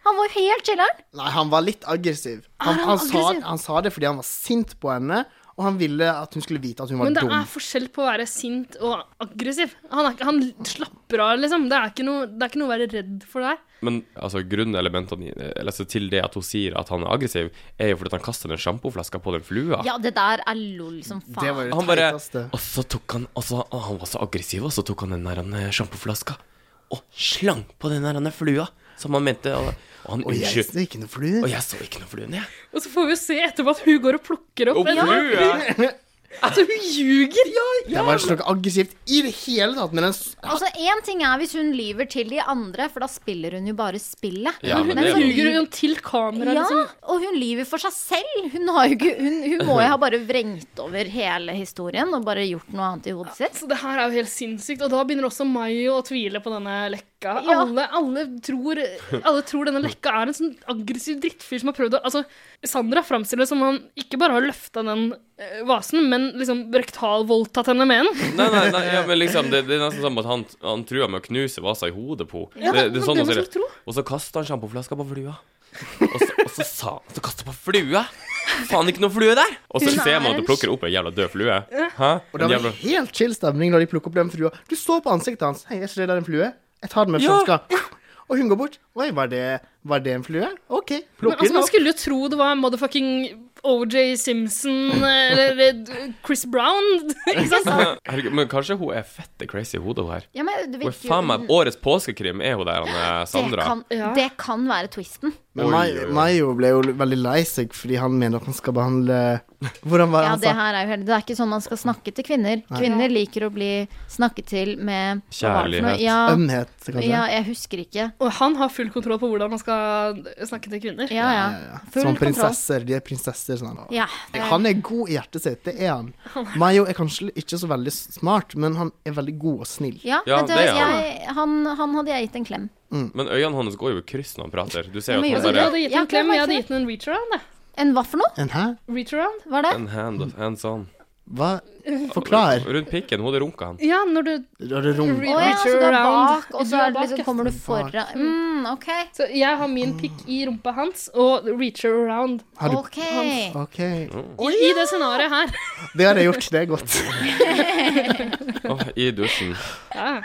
Speaker 1: Han var jo helt chiller'n.
Speaker 2: Nei, han var litt aggressiv.
Speaker 1: Er
Speaker 2: Han,
Speaker 1: han
Speaker 2: han, sa,
Speaker 1: aggressiv?
Speaker 2: han sa det fordi han var sint på henne, og han ville at hun skulle vite at hun var
Speaker 3: Men det
Speaker 2: dum.
Speaker 3: er forskjell på å være sint og aggressiv. Han, er, ikke- han slapper av, liksom. Det er, ikke noe, det er ikke noe å være redd for der.
Speaker 5: Men altså, grunnelementene eller, så til det at hun sier at han er aggressiv, er jo fordi at han kaster den sjampoflaska på den flua.
Speaker 1: Ja, det der er lol som faen.
Speaker 5: han bare, og så tok han og så, å, Han var så aggressiv, og så tok han den der han, eh, sjampoflaska og slang på den der han, flua som han mente. Og, og han
Speaker 2: Og jeg
Speaker 5: unnskyld.
Speaker 2: så ikke noe flue.
Speaker 5: Og jeg så ikke noe flue. Nei.
Speaker 3: Og så får vi jo se etterpå at hun går og plukker opp
Speaker 5: Og flue!
Speaker 3: Altså, hun ljuger! Ja,
Speaker 2: Det var ikke noe aggressivt i det hele tatt, men den s-
Speaker 1: Altså, Én ting er hvis hun lyver til de andre, for da spiller hun jo bare spillet.
Speaker 2: Ja, men
Speaker 3: det
Speaker 1: så
Speaker 3: er jo- Ljuger hun
Speaker 1: lyver-
Speaker 3: til kamera,
Speaker 1: Ja,
Speaker 3: liksom.
Speaker 1: og hun lyver for seg selv. Hun, har jo ikke, hun, hun må jo ha bare vrengt over hele historien og bare gjort noe annet i hodet sitt.
Speaker 3: Så det her er jo helt sinnssykt, og da begynner også Mayo å tvile på denne lekka.
Speaker 1: Ja.
Speaker 3: Alle, alle, tror, alle tror denne lekka er en sånn aggressiv drittfyr som har prøvd å Altså, Sandra framstiller det som han ikke bare har løfta den eh, vasen, men liksom rektalvoldtatt henne med den.
Speaker 5: Nei, nei, nei ja, men liksom, det, det er nesten som at han, han trua med å knuse vasa i hodet på henne.
Speaker 3: Ja,
Speaker 5: det, det
Speaker 3: men
Speaker 5: er sånn
Speaker 3: det
Speaker 5: hun
Speaker 3: må
Speaker 5: sier
Speaker 3: du tro.
Speaker 5: Og så kasta han sjampoflaska på flua. Og så, og så sa han Så kasta på flua! Faen, ikke noe flue der! Og så
Speaker 2: Hun
Speaker 5: ser
Speaker 2: er
Speaker 5: man at
Speaker 2: en
Speaker 5: du plukker opp en jævla død flue.
Speaker 2: Ja.
Speaker 5: Hæ?
Speaker 2: Og det
Speaker 5: En
Speaker 2: var
Speaker 5: jævla...
Speaker 2: helt chill stemning når de plukker opp den flua. Du så på ansiktet hans. Hei, er ikke det der en flue? Jeg tar den med
Speaker 3: Ja.
Speaker 2: flaska. Og hun går bort. Oi, var det, var det en flue? OK,
Speaker 3: Men,
Speaker 2: plukker
Speaker 3: altså,
Speaker 2: den
Speaker 3: man
Speaker 2: opp.
Speaker 3: skulle jo tro det var motherfucking OJ Simpson eh, eller eh, Chris Brown. Ikke sant?
Speaker 5: Herregud, men kanskje hun er fette crazy i hodet, hun her.
Speaker 1: Ja, men det
Speaker 5: Hun er
Speaker 1: virker jo-
Speaker 5: faen meg årets påskekrim, er hun der, han, eh, Sandra.
Speaker 1: Det kan, det kan være twisten.
Speaker 2: Men Mai- Mayo ble jo veldig lei seg fordi han mener at han skal behandle Hvordan var det
Speaker 1: Ja,
Speaker 2: han
Speaker 1: det
Speaker 2: sa?
Speaker 1: her er jo helt Det er ikke sånn man skal snakke til kvinner.
Speaker 2: altså. Nei.
Speaker 1: Kvinner liker å bli snakket til med hva var det for noe? Ja,
Speaker 2: Ømhet, kanskje.
Speaker 1: Ja, jeg husker ikke.
Speaker 3: Og han har full kontroll på hvordan man skal snakke til kvinner.
Speaker 1: Ja, ja. Full
Speaker 2: Som
Speaker 1: kontroll.
Speaker 2: prinsesser. De er prinsesser. Sånn.
Speaker 1: Ja.
Speaker 2: Han er god i hjertet sitt, det er han. Mayo er kanskje ikke så veldig smart, men han er veldig god og snill.
Speaker 1: Ja,
Speaker 5: Ja,
Speaker 1: vet du,
Speaker 5: det er han.
Speaker 1: jeg, han, han hadde jeg gitt en klem.
Speaker 5: Men øynene hans går jo i kryss når han prater. Du ser
Speaker 1: Ja,
Speaker 5: jo
Speaker 1: men gjør
Speaker 5: at han
Speaker 1: det
Speaker 3: Altså, Jeg
Speaker 5: bare
Speaker 3: hadde gitt
Speaker 1: Ja,
Speaker 3: en klem,
Speaker 1: det er
Speaker 3: jeg hadde
Speaker 1: faktisk
Speaker 3: gitt henne en reach around. jeg.
Speaker 1: En hva for noe?
Speaker 2: En hæ?
Speaker 3: Reach around?
Speaker 1: Var det?
Speaker 5: En hand of hands on.
Speaker 2: Hva? Forklar.
Speaker 5: Rundt pikken. Hodet runka han.
Speaker 3: Ja, når du
Speaker 2: Da det rom.
Speaker 3: Re-
Speaker 1: Å ja,
Speaker 3: reach
Speaker 1: så du er
Speaker 3: around.
Speaker 1: bak, og
Speaker 3: Du
Speaker 1: så
Speaker 3: er
Speaker 1: er det liksom,
Speaker 3: bak, ja.
Speaker 1: kommer du foran mm, OK.
Speaker 3: Så jeg har min pikk i rumpa hans og reach around.
Speaker 2: Har du-
Speaker 1: Ok.
Speaker 3: hans.
Speaker 2: OK.
Speaker 3: I, I det scenarioet her.
Speaker 2: Det har jeg gjort, det er godt.
Speaker 5: Åh, I dusjen.
Speaker 3: Ja.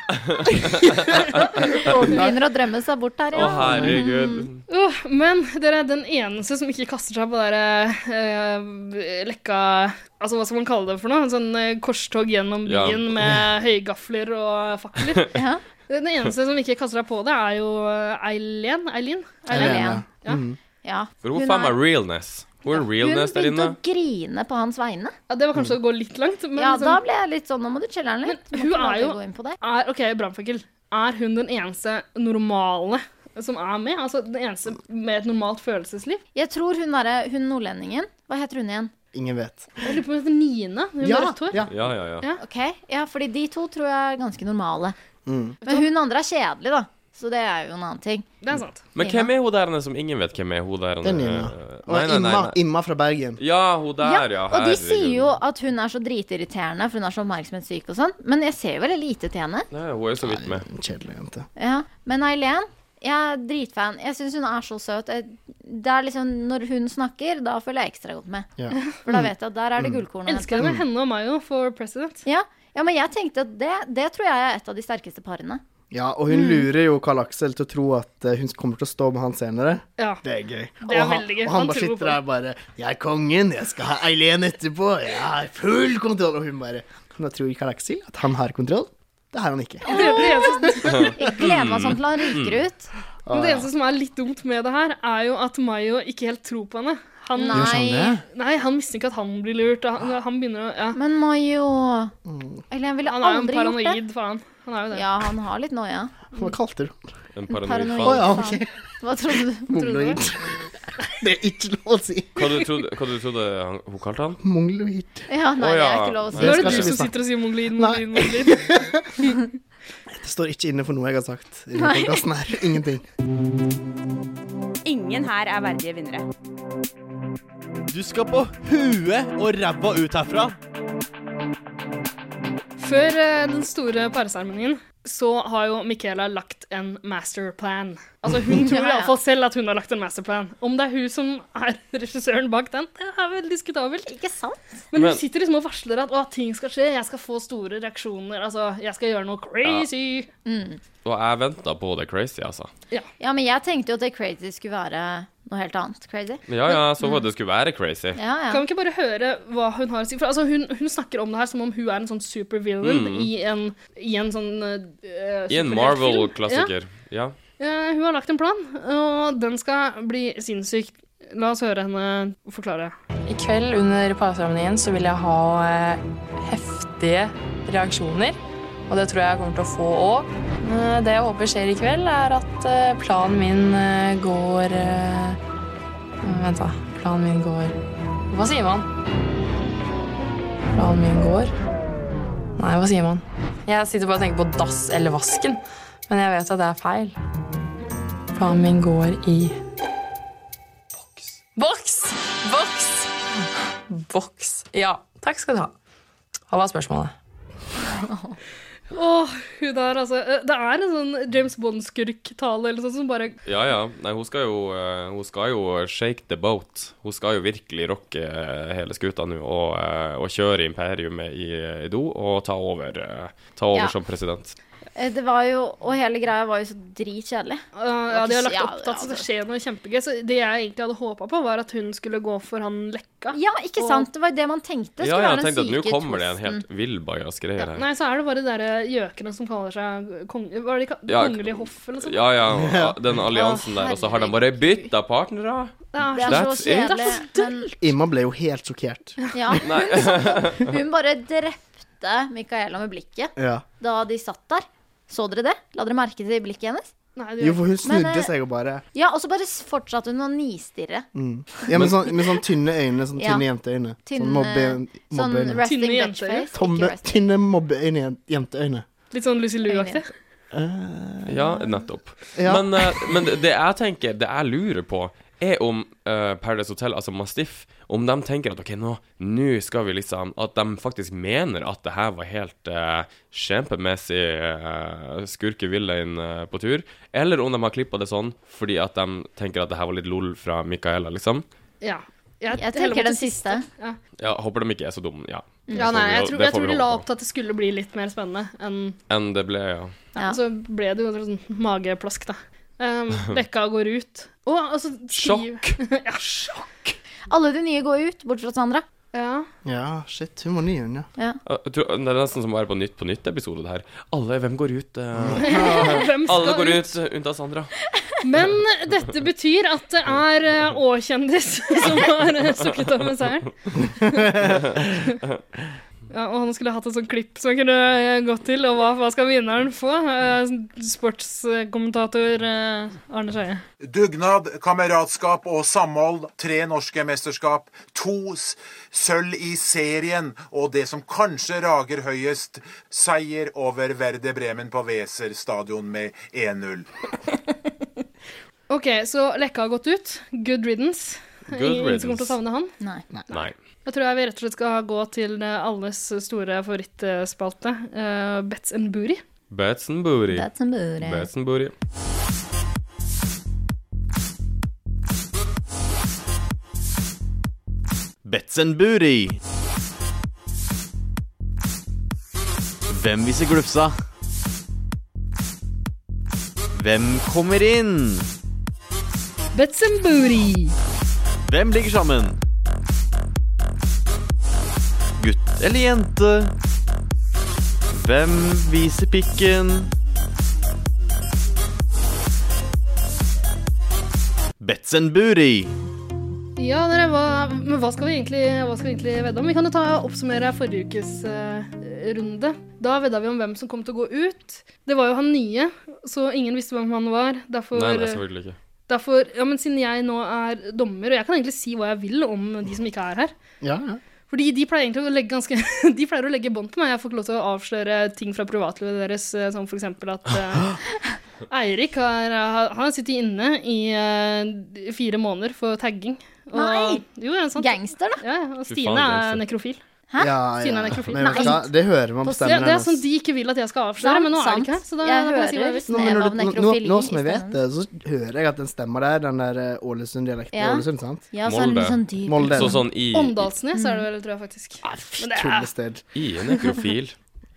Speaker 1: Og hun begynner å drømme seg bort her,
Speaker 5: Å, herregud.
Speaker 3: Åh, men dere er den eneste som ikke kaster seg på det der eh, lekka Altså, hva skal man kalle det for noe? En sånn eh, korstog gjennom
Speaker 5: Ja.
Speaker 3: byen med høygafler og fakler. Den eneste som ikke kaster seg på det, er jo eh, Eileen. Eileen?
Speaker 1: Eileen,
Speaker 3: Ja.
Speaker 2: Mm.
Speaker 1: Ja.
Speaker 5: For hun
Speaker 1: Hun
Speaker 5: faen
Speaker 1: er-
Speaker 5: meg realness. Hun er
Speaker 1: Hun
Speaker 5: realness der
Speaker 1: begynte
Speaker 5: inne.
Speaker 1: å grine på hans vegne.
Speaker 3: Ja, det var kanskje å gå litt langt, men
Speaker 1: ja,
Speaker 3: liksom-
Speaker 1: da ble jeg litt sånn Nå må du chille litt. Må
Speaker 3: Hun
Speaker 1: ikke la
Speaker 3: er
Speaker 1: det
Speaker 3: jo
Speaker 1: gå inn på deg.
Speaker 3: er, OK, brannfakkel. Er hun den eneste normale som er med? Altså den eneste med et normalt følelsesliv?
Speaker 1: Jeg tror hun derre hun nordlendingen Hva heter hun igjen?
Speaker 2: Ingen vet.
Speaker 3: Jeg lurer på om hun heter Nine. Hun
Speaker 1: Ja,
Speaker 3: med rødt hår.
Speaker 2: Ja,
Speaker 5: ja, ja.
Speaker 1: Ok, ja, fordi de to tror jeg er ganske normale.
Speaker 2: Mm.
Speaker 1: Men hun andre er kjedelig, da. Så det er jo en annen ting.
Speaker 3: Det er sant.
Speaker 5: Men hvem er hun der nede som ingen vet hvem er? Hun der
Speaker 2: Det er Nina.
Speaker 5: Eh,
Speaker 2: Og Imma, Imma fra Bergen.
Speaker 5: Ja, hun der, ja.
Speaker 1: og de
Speaker 5: herregud.
Speaker 1: sier jo at hun er så dritirriterende, for hun er så oppmerksomhetssyk og sånn, men jeg ser jo veldig lite til henne.
Speaker 5: Nei, hun er jo så vidt med.
Speaker 2: Kjedelig jente.
Speaker 3: Mm.
Speaker 1: Ja, men Eileen, jeg er dritfan. Jeg syns hun er så søt. Jeg- Det er liksom, Når hun snakker, da følger jeg ekstra godt med.
Speaker 3: Ja.
Speaker 1: For da vet jeg at der er det gullkorn. å
Speaker 3: Elsker
Speaker 1: hente.
Speaker 3: henne, henne og meg jo, for president.
Speaker 1: Ja, ja, men jeg tenkte at det, det tror jeg er et av de sterkeste parene.
Speaker 2: Ja, og hun
Speaker 1: Mm.
Speaker 2: lurer jo Karl Aksel til å tro at eh, hun kommer til å stå med han senere.
Speaker 3: Ja.
Speaker 2: Det er gøy.
Speaker 3: Det er
Speaker 2: og han,
Speaker 3: veldig gøy.
Speaker 2: og
Speaker 3: Han
Speaker 2: han bare
Speaker 3: tror på
Speaker 2: sitter
Speaker 3: det.
Speaker 2: der bare 'Jeg er kongen, jeg skal ha Eileen etterpå, jeg har full kontroll'. Og hun bare Nå tror Karl Aksel at han har kontroll. Det har han ikke.
Speaker 3: Det, er det, eneste,
Speaker 1: Jeg gleder meg sånn til han ryker ut.
Speaker 3: men det eneste som er litt dumt med det her, er jo at Mayo ikke helt tror på henne. Han,
Speaker 1: Nei. Gjør han det?
Speaker 3: Nei, han mistenker at han blir lurt. Og han, han begynner å ja.
Speaker 1: Men Mayo Eileen ville
Speaker 3: Han er jo en
Speaker 1: aldri gjort det.
Speaker 3: paranoid, faen. Han er jo det.
Speaker 1: Ja, han har litt noia.
Speaker 2: Hva kalte du han?
Speaker 5: En
Speaker 1: Paranoid.
Speaker 5: paranoid faen.
Speaker 1: faen. Hva trodde du?
Speaker 2: Mongoloid. Det er ikke lov å si.
Speaker 5: Hva du trodde hva du trodde han- hun kalte han?
Speaker 2: Mongoloid.
Speaker 1: Ja, nei,
Speaker 5: Å,
Speaker 1: det er
Speaker 5: ja.
Speaker 1: ikke lov å si.
Speaker 5: Nå er det
Speaker 2: skal
Speaker 5: du
Speaker 2: ikke vi
Speaker 5: som
Speaker 2: snakke-
Speaker 3: Sitter og sier mongolid, mongolid, mongolid.
Speaker 2: Det står ikke inne for noe jeg har sagt i denne
Speaker 4: Nei.
Speaker 2: podcasten her. Ingenting.
Speaker 4: Ingen her er verdige vinnere.
Speaker 7: Du skal på huet og ræva ut herfra.
Speaker 3: Før eh, den store parseremonien så har jo Michaela lagt en masterplan. Altså Hun tror
Speaker 1: Ja, ja.
Speaker 3: iallfall selv at hun har lagt en masterplan. Om det er hun som er regissøren bak den, det er vel diskutabelt.
Speaker 1: Ikke sant?
Speaker 3: Men hun
Speaker 5: Men-
Speaker 3: sitter liksom og varsler at å, ting skal skje, jeg skal få store reaksjoner, altså jeg skal gjøre noe crazy.
Speaker 5: Og jeg venta på det crazy, altså.
Speaker 3: Ja.
Speaker 1: men jeg tenkte jo at det crazy skulle være noe helt annet. Crazy.
Speaker 5: Ja ja, så for at det skulle være crazy.
Speaker 1: Ja, ja.
Speaker 3: Kan vi ikke bare høre hva hun har å si? For altså, hun, hun snakker om det her som om hun er en sånn supervillain
Speaker 5: Mm.
Speaker 3: i, en, i en sånn eh,
Speaker 5: I
Speaker 3: superheltfilm.
Speaker 5: en Marvel-klassiker. Ja.
Speaker 3: Ja. Eh, hun har lagt en plan, og den skal bli sinnssyk. La oss høre henne forklare.
Speaker 14: I kveld under parseremonien så vil jeg ha eh, heftige reaksjoner. Og det tror jeg jeg kommer til å få òg. Det jeg håper skjer i kveld, er at eh, planen min eh, går eh, Vent, da. Planen min går Hva sier man? Planen min går Nei, hva sier man? Jeg sitter bare og tenker på dass eller vasken, men jeg vet at det er feil. Planen min går i Boks! Boks! Boks. Ja. Takk skal du ha. Hva var spørsmålet?
Speaker 3: Åh, hun der, altså. eh, Det er en sånn James Bond-skurktale eller sånn som bare
Speaker 5: Ja ja. Nei, hun skal jo eh, Hun skal jo shake the boat. Hun skal jo virkelig rocke eh, hele skuta nå og, eh, og kjøre imperiumet i, i do og ta over, eh, ta over
Speaker 1: Ja.
Speaker 5: som president.
Speaker 1: Eh, Det var jo, og hele greia var jo så dritkjedelig.
Speaker 3: Ja, de har lagt opp til at det skal skje noe kjempegøy. Så det jeg egentlig hadde håpa på, var at hun skulle gå for han Lekka.
Speaker 1: Ja, ikke
Speaker 3: Og-
Speaker 1: sant? Det var jo det man tenkte.
Speaker 5: Ja, ja,
Speaker 1: være
Speaker 5: jeg
Speaker 1: den
Speaker 5: tenkte at nå
Speaker 1: syke
Speaker 5: kommer det en
Speaker 1: tosten.
Speaker 5: helt villbajas greier her.
Speaker 3: Nei, så er det bare de der eh, gjøkene som kaller seg kong... Hva er det de kaller
Speaker 5: Ja,
Speaker 3: Kongelig hoff eller noe sånt?
Speaker 5: Ja, ja, og den alliansen der, og så har de bare bytta partnere.
Speaker 3: Det er
Speaker 1: Det er Mm. så
Speaker 5: That's it.
Speaker 1: kjedelig. Men
Speaker 2: Imma ble jo helt sjokkert.
Speaker 1: ja, hun, hun bare drepte Micaela med blikket
Speaker 2: Ja.
Speaker 1: da de satt der. Så dere det? La dere merke til blikket hennes?
Speaker 2: Jo, for hun
Speaker 1: Men, eh,
Speaker 2: snudde seg og bare
Speaker 1: Ja, og så bare s- fortsatte hun å nistirre.
Speaker 2: mm. Ja, med sånn, med sånn tynne øyne. Sånn
Speaker 1: Ja.
Speaker 2: tynne jenteøyne.
Speaker 1: Tynne-
Speaker 2: Sånn mobbe,
Speaker 1: sånn
Speaker 2: mobbeøyne.
Speaker 1: resting Tynne bitch jenteøyne? face,
Speaker 2: Tomme,
Speaker 1: ikke resting.
Speaker 2: tynne mobbeøyne, jen- jenteøyne.
Speaker 3: Litt sånn Lucy Lou-aktig.
Speaker 5: Ja, nettopp.
Speaker 2: Ja.
Speaker 5: Men, eh, men det jeg tenker, det jeg lurer på, er om eh, Paradise Hotel, altså Mastiff, om de tenker at OK, nå, nå skal vi liksom At de faktisk mener at det her var helt eh, kjempemessig uh, skurkevillain eh, på tur, eller om de har klippa det sånn fordi at de tenker at det her var litt lol fra Micaela, liksom.
Speaker 3: Ja. Jeg,
Speaker 1: Jeg
Speaker 3: heller mot
Speaker 1: tenker den
Speaker 3: det siste.
Speaker 1: siste.
Speaker 3: Ja.
Speaker 5: Ja, Håper de ikke er så dumme, ja.
Speaker 3: ja,
Speaker 5: Mm. Det får
Speaker 3: nei,
Speaker 5: vi
Speaker 3: jeg
Speaker 5: jo-
Speaker 3: tror,
Speaker 5: det
Speaker 3: jeg
Speaker 5: får
Speaker 3: tror
Speaker 5: vi
Speaker 3: de la
Speaker 5: håpe
Speaker 3: opp til at det skulle bli litt mer spennende enn
Speaker 5: på. Enn det ble, ja.
Speaker 3: ja. Så ble det jo sånn mageplask, da. Um, Bekka går ut. Å, altså Sjokk! ja, sjokk.
Speaker 1: Alle de nye går ut, bortsett fra Sandra.
Speaker 3: Ja.
Speaker 2: Ja, shit, hun var ny hun, ja.
Speaker 1: Ja.
Speaker 5: Eh, Jeg tror- Det er nesten som å være på Nytt på Nytt-episode, det her. Alle, hvem går ut? eh?
Speaker 3: Hvem skal
Speaker 5: Alle går ut, eh, unntatt Sandra.
Speaker 3: Men dette betyr at det er eh, Å-kjendis som har eh, sukket over seieren. Ja, og han skulle hatt et sånt klipp som han kunne eh, gått til, og hva, hva skal vinneren få? Eh, Sportskommentator eh, Arne Skeie.
Speaker 15: Dugnad, kameratskap og samhold. Tre norske mesterskap. To s- sølv i serien. Og det som kanskje rager høyest, seier over Verde Bremen på Weser stadion med 1-0.
Speaker 3: OK, så Lekka har gått ut. Good riddance.
Speaker 15: Good
Speaker 3: Ingen som kommer til
Speaker 15: riddance.
Speaker 3: å savne han.
Speaker 5: Nei.
Speaker 3: Da tror jeg vi rett og slett skal gå til eh, alles store favorittspalte, eh, Bets and Booty.
Speaker 5: Bats and booty.
Speaker 3: Bats and booty.
Speaker 5: Bats and booty.
Speaker 7: Betzenburi. Hvem viser glufsa? Hvem kommer inn?
Speaker 3: Bets and Booty.
Speaker 7: Hvem ligger sammen? Gutt eller jente? Hvem viser pikken? Betzenburi.
Speaker 3: Ja, dere, hva, men hva skal vi egentlig, hva skal vi egentlig vedde om? Vi kan jo ta oppsummere forrige ukes eh, runde. Da vedda vi om hvem som kom til å gå ut. Det var jo han nye, så ingen visste hvem han var. Derfor,
Speaker 5: Nei, nei, selvfølgelig ikke.
Speaker 3: derfor ja, men siden jeg nå er dommer, og jeg kan egentlig si hva jeg vil om de som ikke er her.
Speaker 2: Ja, ja.
Speaker 3: Fordi de pleier egentlig å legge ganske De pleier å legge bånd på meg. Jeg får ikke lov til å avsløre ting fra privatlivet deres, eh, som for eksempel at eh, Eirik har, har- han har sittet inne i eh, fire måneder for tagging. Og,
Speaker 1: Nei!
Speaker 3: Jo, ja, sant. Gangster, da. Ja, ja, og
Speaker 2: Fy
Speaker 3: Stine
Speaker 2: faen,
Speaker 3: er
Speaker 2: gangster.
Speaker 3: nekrofil.
Speaker 2: Ja, ja.
Speaker 3: Stine er nekrofil.
Speaker 2: Men vet du hva, det hører man på
Speaker 3: Det,
Speaker 2: stemmen
Speaker 3: det er
Speaker 2: hennes.
Speaker 3: sånn de ikke vil at jeg skal avsløre,
Speaker 1: Sant,
Speaker 3: men nå er
Speaker 1: sant.
Speaker 3: det ikke her. Så da
Speaker 1: Jeg
Speaker 3: kan jeg si hva
Speaker 1: hører
Speaker 3: jeg vil.
Speaker 2: Nå, men når
Speaker 1: av
Speaker 2: du, nå, nå,
Speaker 1: nekrofili
Speaker 2: nå som
Speaker 1: i
Speaker 2: jeg vet det, så hører jeg at den stemmer der, den der eh, Ålesund-dialekten.
Speaker 3: Ja.
Speaker 2: Ålesund, sant?
Speaker 1: Ja, så er det litt sånn dyp.
Speaker 2: Molde.
Speaker 5: Så sånn i-
Speaker 3: Åndalsnes er det vel, tror jeg faktisk. Men det er
Speaker 2: Tullested.
Speaker 5: I er nekrofil.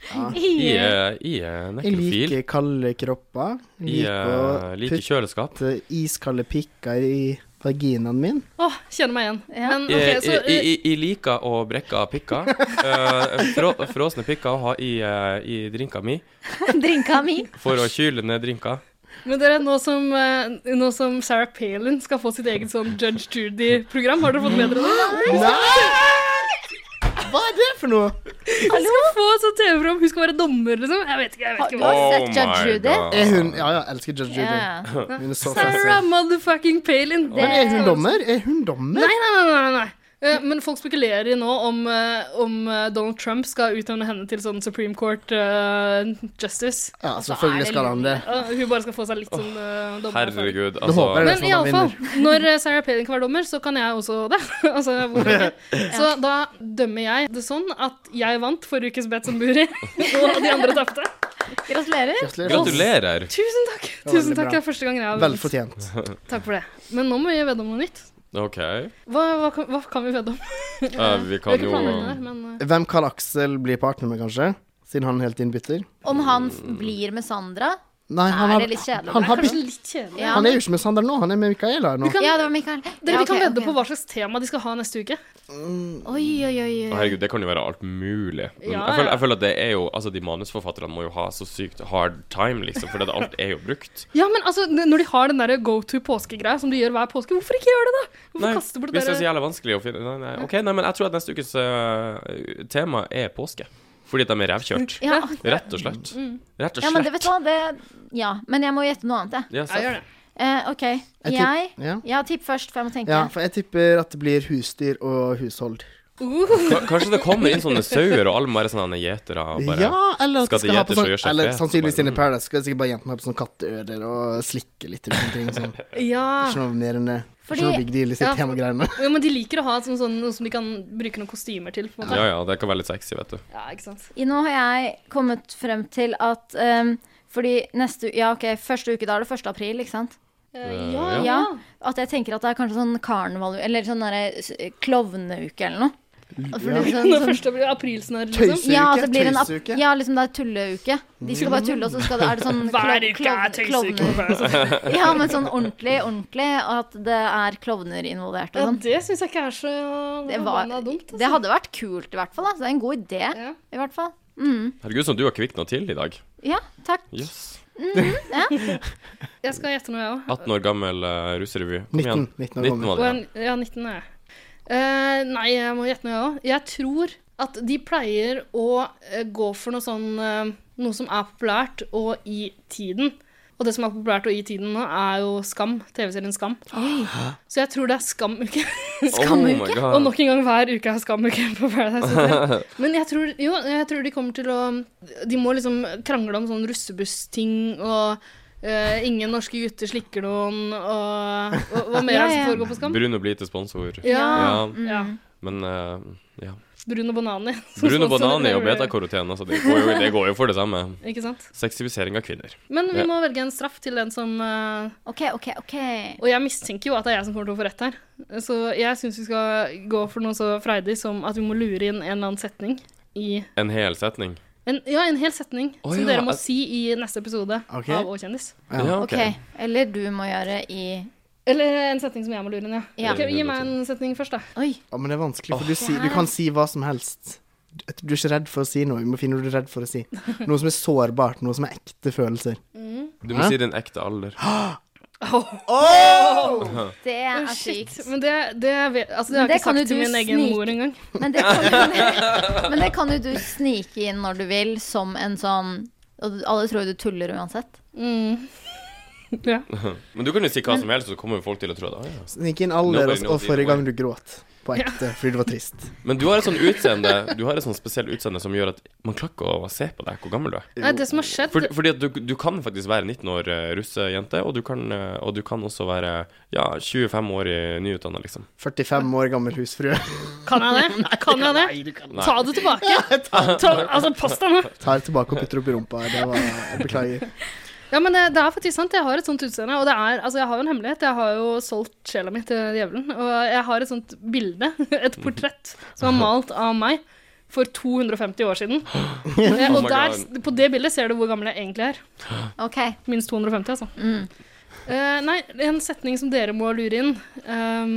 Speaker 2: Ja.
Speaker 5: I er- I er
Speaker 2: Jeg
Speaker 5: nekrofil.
Speaker 2: liker kalde kropper.
Speaker 5: I er
Speaker 2: Jeg
Speaker 5: liker
Speaker 2: liker å
Speaker 5: kjøleskap.
Speaker 2: putte eh, iskalde pikker i vaginaen min.
Speaker 3: Åh, kjenner meg igjen. Men
Speaker 5: I,
Speaker 3: ok, så
Speaker 5: Eh, i, i, I liker å brekke pikker. Eh, frå, frosne pikker å ha i, eh, i drinka mi
Speaker 1: Drinka mi.
Speaker 5: for å kyle ned drinka.
Speaker 3: Men dere, nå som, eh, nå som Sarah Palin skal få sitt eget sånn Judge Judy-program, har dere fått med dere det?
Speaker 2: Hva er det for noe?
Speaker 3: Hun skal få et sånt TV-program, hun skal være dommer, liksom. Jeg vet ikke, jeg vet ikke hva.
Speaker 2: Oh my God. Er hun, ja, ja, jeg elsker Judge Judy.
Speaker 3: Ja, ja.
Speaker 2: Hun er så
Speaker 3: Sarah
Speaker 2: fancy.
Speaker 3: motherfucking Palin.
Speaker 2: Men er hun dommer? Er hun dommer?
Speaker 3: Nei, nei, nei, nei, nei. Eh, Men folk spekulerer jo nå om, eh, om eh, Donald Trump skal utnevne henne til sånn Supreme Court eh, Justice.
Speaker 2: Ja, selvfølgelig
Speaker 3: Altså,
Speaker 2: skal han det.
Speaker 3: Ja, Hun bare skal få seg litt sånn eh, dommer.
Speaker 5: Herregud,
Speaker 2: Da håper jeg
Speaker 5: altså.
Speaker 2: det.
Speaker 3: Men
Speaker 2: sånn han
Speaker 3: iallfall, når eh, Sarah Palin kan være dommer, så kan jeg også det. altså, hvorfor ikke? Så da dømmer jeg det sånn at jeg vant forrige ukes Bet som Buri, og de andre tapte.
Speaker 1: Gratulerer.
Speaker 5: altså, Gratulerer.
Speaker 3: Tusen takk.
Speaker 5: Det
Speaker 3: Tusen
Speaker 5: var veldig
Speaker 3: takk,
Speaker 5: bra.
Speaker 3: det er første gang jeg har vunnet.
Speaker 2: Velfortjent.
Speaker 3: Takk for det. Men nå må vi vedde om noe nytt.
Speaker 5: OK.
Speaker 3: Hva, hva, kan, hva kan vi vedde om?
Speaker 5: Eh, vi kan
Speaker 3: ikke
Speaker 5: jo-
Speaker 3: planlegge det her, men, eh,
Speaker 2: Hvem Karl Aksel blir partner med, kanskje? Siden han hele tiden bytter?
Speaker 1: Om han f- blir med Sandra,
Speaker 2: Nei, han,
Speaker 1: er
Speaker 2: har,
Speaker 1: det litt kjedelig.
Speaker 2: han, har,
Speaker 3: Det er kanskje litt kjedelig.
Speaker 2: han er jo ikke med Sander nå, han er med Micaela nå.
Speaker 3: Vi kan,
Speaker 1: Ja, det var Mikael.
Speaker 3: Dere, vi kan vedde på hva slags tema de skal ha neste uke.
Speaker 1: Oi, oi, oi.
Speaker 5: Å,
Speaker 1: oi.
Speaker 5: Herregud, det kan jo være alt mulig. Men
Speaker 3: Ja,
Speaker 5: jeg, føler,
Speaker 3: ja.
Speaker 5: jeg føler at det er jo Altså, de manusforfatterne må jo ha så sykt hard time, liksom, for det, alt er jo brukt.
Speaker 3: Ja, men altså, n- Når de har den der go to påskegreia som de gjør hver påske, hvorfor ikke gjøre det, da? Hvorfor
Speaker 5: Nei,
Speaker 3: kaste bort
Speaker 5: hvis det er så
Speaker 3: der...
Speaker 5: jævlig vanskelig å finne Nei, nei, ok, nei, men jeg tror at neste ukes eh, tema er påske. Fordi at de er revkjørt.
Speaker 1: Ja.
Speaker 5: Rett og slett.
Speaker 1: Mm.
Speaker 5: Rett og
Speaker 1: Ja, men det
Speaker 5: slett.
Speaker 1: vet du hva, det Ja, men jeg må gjette noe annet, jeg.
Speaker 5: Ja, så- Ja, gjør det.
Speaker 1: Eh, OK.
Speaker 2: tipp-
Speaker 1: Jeg
Speaker 2: ja.
Speaker 1: Ja, tipp først, for jeg må tenke.
Speaker 2: Ja, for jeg tipper at det blir husdyr og hushold.
Speaker 3: Uh,
Speaker 5: Ka- Kanskje det kommer inn sånne sauer, og alle må være sånne gjetere. Og bare,
Speaker 2: ja, eller at de
Speaker 5: skal
Speaker 2: skal
Speaker 5: de
Speaker 2: ha på
Speaker 5: gjete, så
Speaker 2: sånn
Speaker 5: gjør seg
Speaker 2: Eller
Speaker 5: fet, så
Speaker 2: sannsynligvis
Speaker 5: bare,
Speaker 2: inne i Paradise skal sikkert bare jentene ha på sånn katteører og slikke litt rundt omkring. Sånn.
Speaker 3: Ja.
Speaker 2: Ikke noe mer enn det.
Speaker 3: Ah. Fordi-
Speaker 2: Ikke noe big deal i sitt
Speaker 3: Ja.
Speaker 2: temagreiene.
Speaker 3: Jo, men de liker å ha sånn, sånn, noe som de kan bruke noen kostymer til. på en måte.
Speaker 5: Ja, ja, det kan være litt sexy, vet du.
Speaker 3: Ja, ikke sant?
Speaker 1: I Nå har jeg kommet frem til at ehm, Fordi neste u- Ja, OK, første uke, da er det 1. april, ikke sant?
Speaker 5: Eh, ja. ja.
Speaker 1: At jeg tenker at det er kanskje sånn karneval Eller sånn derre s- klovneuke eller noe. Og for
Speaker 3: Ja.
Speaker 1: det er
Speaker 3: Når
Speaker 1: sånn-
Speaker 3: første blir aprilsnarr, liksom.
Speaker 1: Ja, at det blir en ap-
Speaker 3: tøyseuke.
Speaker 1: Ja, liksom det er tulleuke. De skal bare tulle, og så skal det, er det sånn
Speaker 3: Hver
Speaker 1: klo-
Speaker 3: uke er
Speaker 1: klovn-
Speaker 3: tøyseuke.
Speaker 1: klovner. Ja, men sånn ordentlig, ordentlig. At det er klovner involvert og
Speaker 3: Ja,
Speaker 1: sånn.
Speaker 3: det syns jeg ikke er så
Speaker 1: Det, var,
Speaker 3: forbanna dumt. altså.
Speaker 1: det hadde vært kult, i hvert fall. Da. Så det er en god idé, i hvert fall. Mm.
Speaker 5: Herregud, som du har kvikna til i dag.
Speaker 1: Ja, takk.
Speaker 5: Yes.
Speaker 1: Mhm, ja.
Speaker 3: Jeg skal gjette noe, jeg òg.
Speaker 5: 18 år gammel uh, russerevy.
Speaker 2: 19, 19 år gammel.
Speaker 5: var det, ja.
Speaker 3: Ja, 19 er jeg. Eh, nei, jeg må gjette noe, jeg òg. Jeg tror at de pleier å eh, gå for noe sånn eh, Noe som er populært og i tiden. Og det som er populært og i tiden nå, er jo Skam. TV-serien Skam.
Speaker 5: Hæ?
Speaker 3: Så jeg tror det er Skamuke.
Speaker 5: Skamuke? Oh my God.
Speaker 3: og nok en gang hver uke er Skamuke på Paradise Hotel. Men jeg tror, jo, jeg tror de kommer til å De må liksom krangle om sånn russebussting og eh, ingen norske gutter slikker noen, og, og hva mer altså er det som foregår på Skam?
Speaker 5: Brun og blid til sponsor.
Speaker 3: Ja, Mm. ja.
Speaker 5: Men eh, ja.
Speaker 3: Brun og banani.
Speaker 5: Brun og banani og betakaroten, altså. Det går, jo, det går jo for det samme.
Speaker 3: Ikke sant?
Speaker 5: Seksualisering av kvinner.
Speaker 3: Men vi
Speaker 5: Ja.
Speaker 3: må velge en straff til den som eh, Og jeg mistenker jo at det er jeg som kommer til å få rett her. Så jeg syns vi skal gå for noe så freidig som at vi må lure inn en eller annen setning i
Speaker 5: En hel setning.
Speaker 3: en, Ja, en hel setning
Speaker 5: Å,
Speaker 3: som
Speaker 5: ja,
Speaker 3: dere må
Speaker 5: jeg-
Speaker 3: si i neste episode
Speaker 5: Ok.
Speaker 3: av Å kjendis.
Speaker 5: Ja, ok.
Speaker 1: ok. Eller du må gjøre i
Speaker 3: Eller en setning som jeg må lure inn, ja.
Speaker 1: Ja.
Speaker 3: Ok, gi meg en setning først, da.
Speaker 2: Ja, men det er vanskelig, for du, si,
Speaker 3: det
Speaker 2: du
Speaker 3: er-
Speaker 2: kan si hva som helst. Du du er ikke redd for å si noe. Du må finne noe du er redd for å si. Noe som er sårbart, noe som er ekte følelser.
Speaker 5: Du må
Speaker 2: Hæ?
Speaker 5: si din ekte alder.
Speaker 1: Det
Speaker 3: Oh,
Speaker 1: er
Speaker 3: sykt. Men det, det, vet, altså, det har
Speaker 1: Men det
Speaker 3: jeg ikke
Speaker 1: kan jo
Speaker 3: sagt til
Speaker 1: du
Speaker 3: min egen
Speaker 1: snike-
Speaker 3: mor engang.
Speaker 1: Men det, kan jo, men det kan jo du snike inn når du vil, som en sånn Og alle tror jo du tuller uansett.
Speaker 3: Mm. Ja.
Speaker 5: Men du kan jo si hva som helst, så kommer jo folk til å tro det. Ah, ja.
Speaker 2: Snik inn alder og,
Speaker 5: Nobody knows
Speaker 2: og forrige gang
Speaker 5: either
Speaker 2: du gråt. På ekte, fordi du var trist.
Speaker 5: Men du har et sånn utseende Du har et sånn spesielt utseende som gjør at man klarer ikke å se på deg hvor gammel du er.
Speaker 3: Nei, det som har skjedd
Speaker 5: For, fordi at du, du kan faktisk være 19 år eh, russejente, og du kan, eh, og du kan også være ja, 25 år i nyutdanna, liksom.
Speaker 2: 45 år gammel husfrue.
Speaker 3: Kan jeg det? Kan jeg det?
Speaker 5: Nei.
Speaker 3: Ta det tilbake! Ta, altså, pass deg nå!
Speaker 2: Tar tilbake og putter opp i rumpa. Det var jeg Beklager.
Speaker 3: Ja, men eh, det, det er faktisk sant. Jeg har et sånt utseende. Og det er, altså, jeg har jo en hemmelighet. Jeg har jo solgt sjela mi til djevelen. Og jeg har et sånt bilde, et portrett, som er malt av meg for 250 år siden. Eh,
Speaker 1: Oh
Speaker 3: Og
Speaker 1: my
Speaker 3: der,
Speaker 1: God.
Speaker 3: på det bildet ser du hvor gammel jeg egentlig er. Minst 250, altså. Eh, nei, en setning som dere må lure inn. Ehm,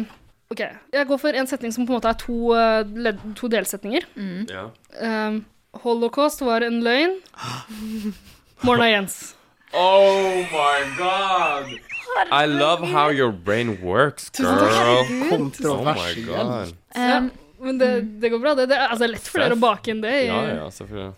Speaker 3: OK. Jeg går for en setning som på en måte er to, eh, ledd, to delsetninger.
Speaker 5: Ja.
Speaker 3: Ehm, Holocaust var en løgn. Morna Jens.
Speaker 5: Oh my god! I love how your brain works,
Speaker 3: Tusen takk,
Speaker 5: girl.
Speaker 3: herregud.
Speaker 5: Oh my
Speaker 3: Kontroversiell.
Speaker 5: god.
Speaker 3: Ja, men det,
Speaker 2: Mm.
Speaker 3: det går bra. Det, det er altså, lett for dere å bake inn det. i-
Speaker 5: Ja, ja, selvfølgelig.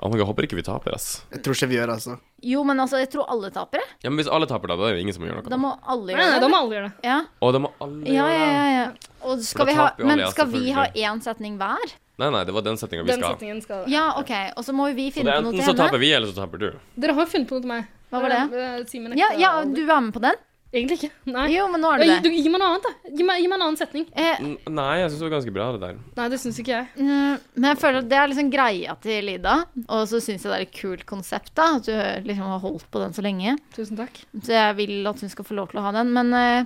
Speaker 5: Oh my god, håper ikke vi taper, ass.
Speaker 2: Jeg tror ikke vi gjør altså.
Speaker 1: Jo, men altså, jeg tror alle tapere.
Speaker 5: Ja, men hvis alle taper, da, da er det ingen som gjør noe.
Speaker 1: Da må alle
Speaker 3: Nei,
Speaker 1: gjøre det.
Speaker 3: nei, da må alle gjøre det.
Speaker 1: Ja,
Speaker 5: Og da må alle
Speaker 1: ja,
Speaker 5: gjøre
Speaker 1: ja.
Speaker 5: det.
Speaker 1: ja, ja. Og
Speaker 5: da
Speaker 1: skal vi ha,
Speaker 5: taper jo alle,
Speaker 1: men
Speaker 5: ja,
Speaker 1: skal vi ha
Speaker 5: selvfølgelig.
Speaker 1: én setning hver?
Speaker 5: Nei, nei, det var den setninga vi
Speaker 3: Den
Speaker 5: skal ha.
Speaker 3: setningen skal
Speaker 1: Ja, OK. Og så må vi
Speaker 5: Så det
Speaker 1: finne
Speaker 5: er
Speaker 1: på noe
Speaker 5: enten
Speaker 1: til
Speaker 5: så
Speaker 1: henne.
Speaker 5: taper vi, eller så taper du.
Speaker 3: Dere har jo funnet på noe til meg.
Speaker 1: Hva var det?
Speaker 3: Eh, si min ekte
Speaker 1: Ja, ja,
Speaker 3: alder.
Speaker 1: du var med på den?
Speaker 3: Egentlig ikke. Nei.
Speaker 1: Jo, men nå er du
Speaker 3: Ja, gi-
Speaker 1: det.
Speaker 3: du- Gi meg noe annet, da. Gi meg, gi meg en annen setning.
Speaker 5: N nei, jeg syns det var ganske bra, det der.
Speaker 3: Nei, det syns ikke jeg.
Speaker 1: Mm, Men jeg føler at det er liksom greia til Ida. Og så syns jeg det er et kult konsept, da. At du liksom har holdt på den så lenge.
Speaker 3: Tusen takk.
Speaker 1: Så jeg vil at hun skal få lov til å ha den, men eh,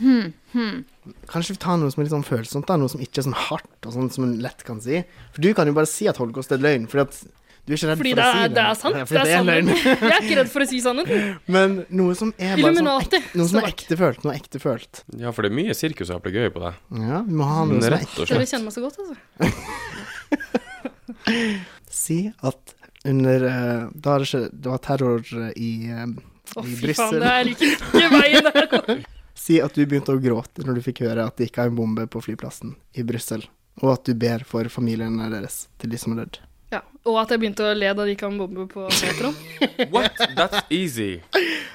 Speaker 1: hmm, hmm.
Speaker 2: Kanskje vi tar noe som er litt sånn følsomt, da, noe som ikke er sånn hardt, og sånn som en lett kan si. For du kan jo bare si at holocaust er løgn, fordi at du er ikke redd
Speaker 3: Fordi
Speaker 2: for
Speaker 3: det
Speaker 2: å si
Speaker 3: er,
Speaker 2: det.
Speaker 3: det er sant.
Speaker 2: Ja,
Speaker 3: Det
Speaker 2: fordi
Speaker 3: er sannheten.
Speaker 2: løgn.
Speaker 3: Jeg er ikke redd for å si sannheten.
Speaker 2: Men noe som er bare sånn
Speaker 3: Illuminati,
Speaker 2: ekte, noe som
Speaker 3: står
Speaker 2: er
Speaker 3: bak.
Speaker 2: ekte følt, noe ekte følt.
Speaker 5: Ja, for det er mye sirkus og eplegøy på deg.
Speaker 2: Ja, vi må ha noe som er
Speaker 5: Rett og
Speaker 2: ekte.
Speaker 3: Dere kjenner meg så godt, altså.
Speaker 2: Si at under eh, Da er det ikke Det var terror i, eh,
Speaker 3: Å,
Speaker 2: i
Speaker 3: fy faen,
Speaker 2: Brussel.
Speaker 3: det er ikke, ikke veien der går.
Speaker 2: Si at du begynte å gråte når du fikk høre at det gikk av en bombe på flyplassen i Brussel, og at du ber for familiene deres til de som er dødd.
Speaker 3: Ja, og at jeg begynte å le da de gikk av en bombe på metroen.
Speaker 5: What? That's easy.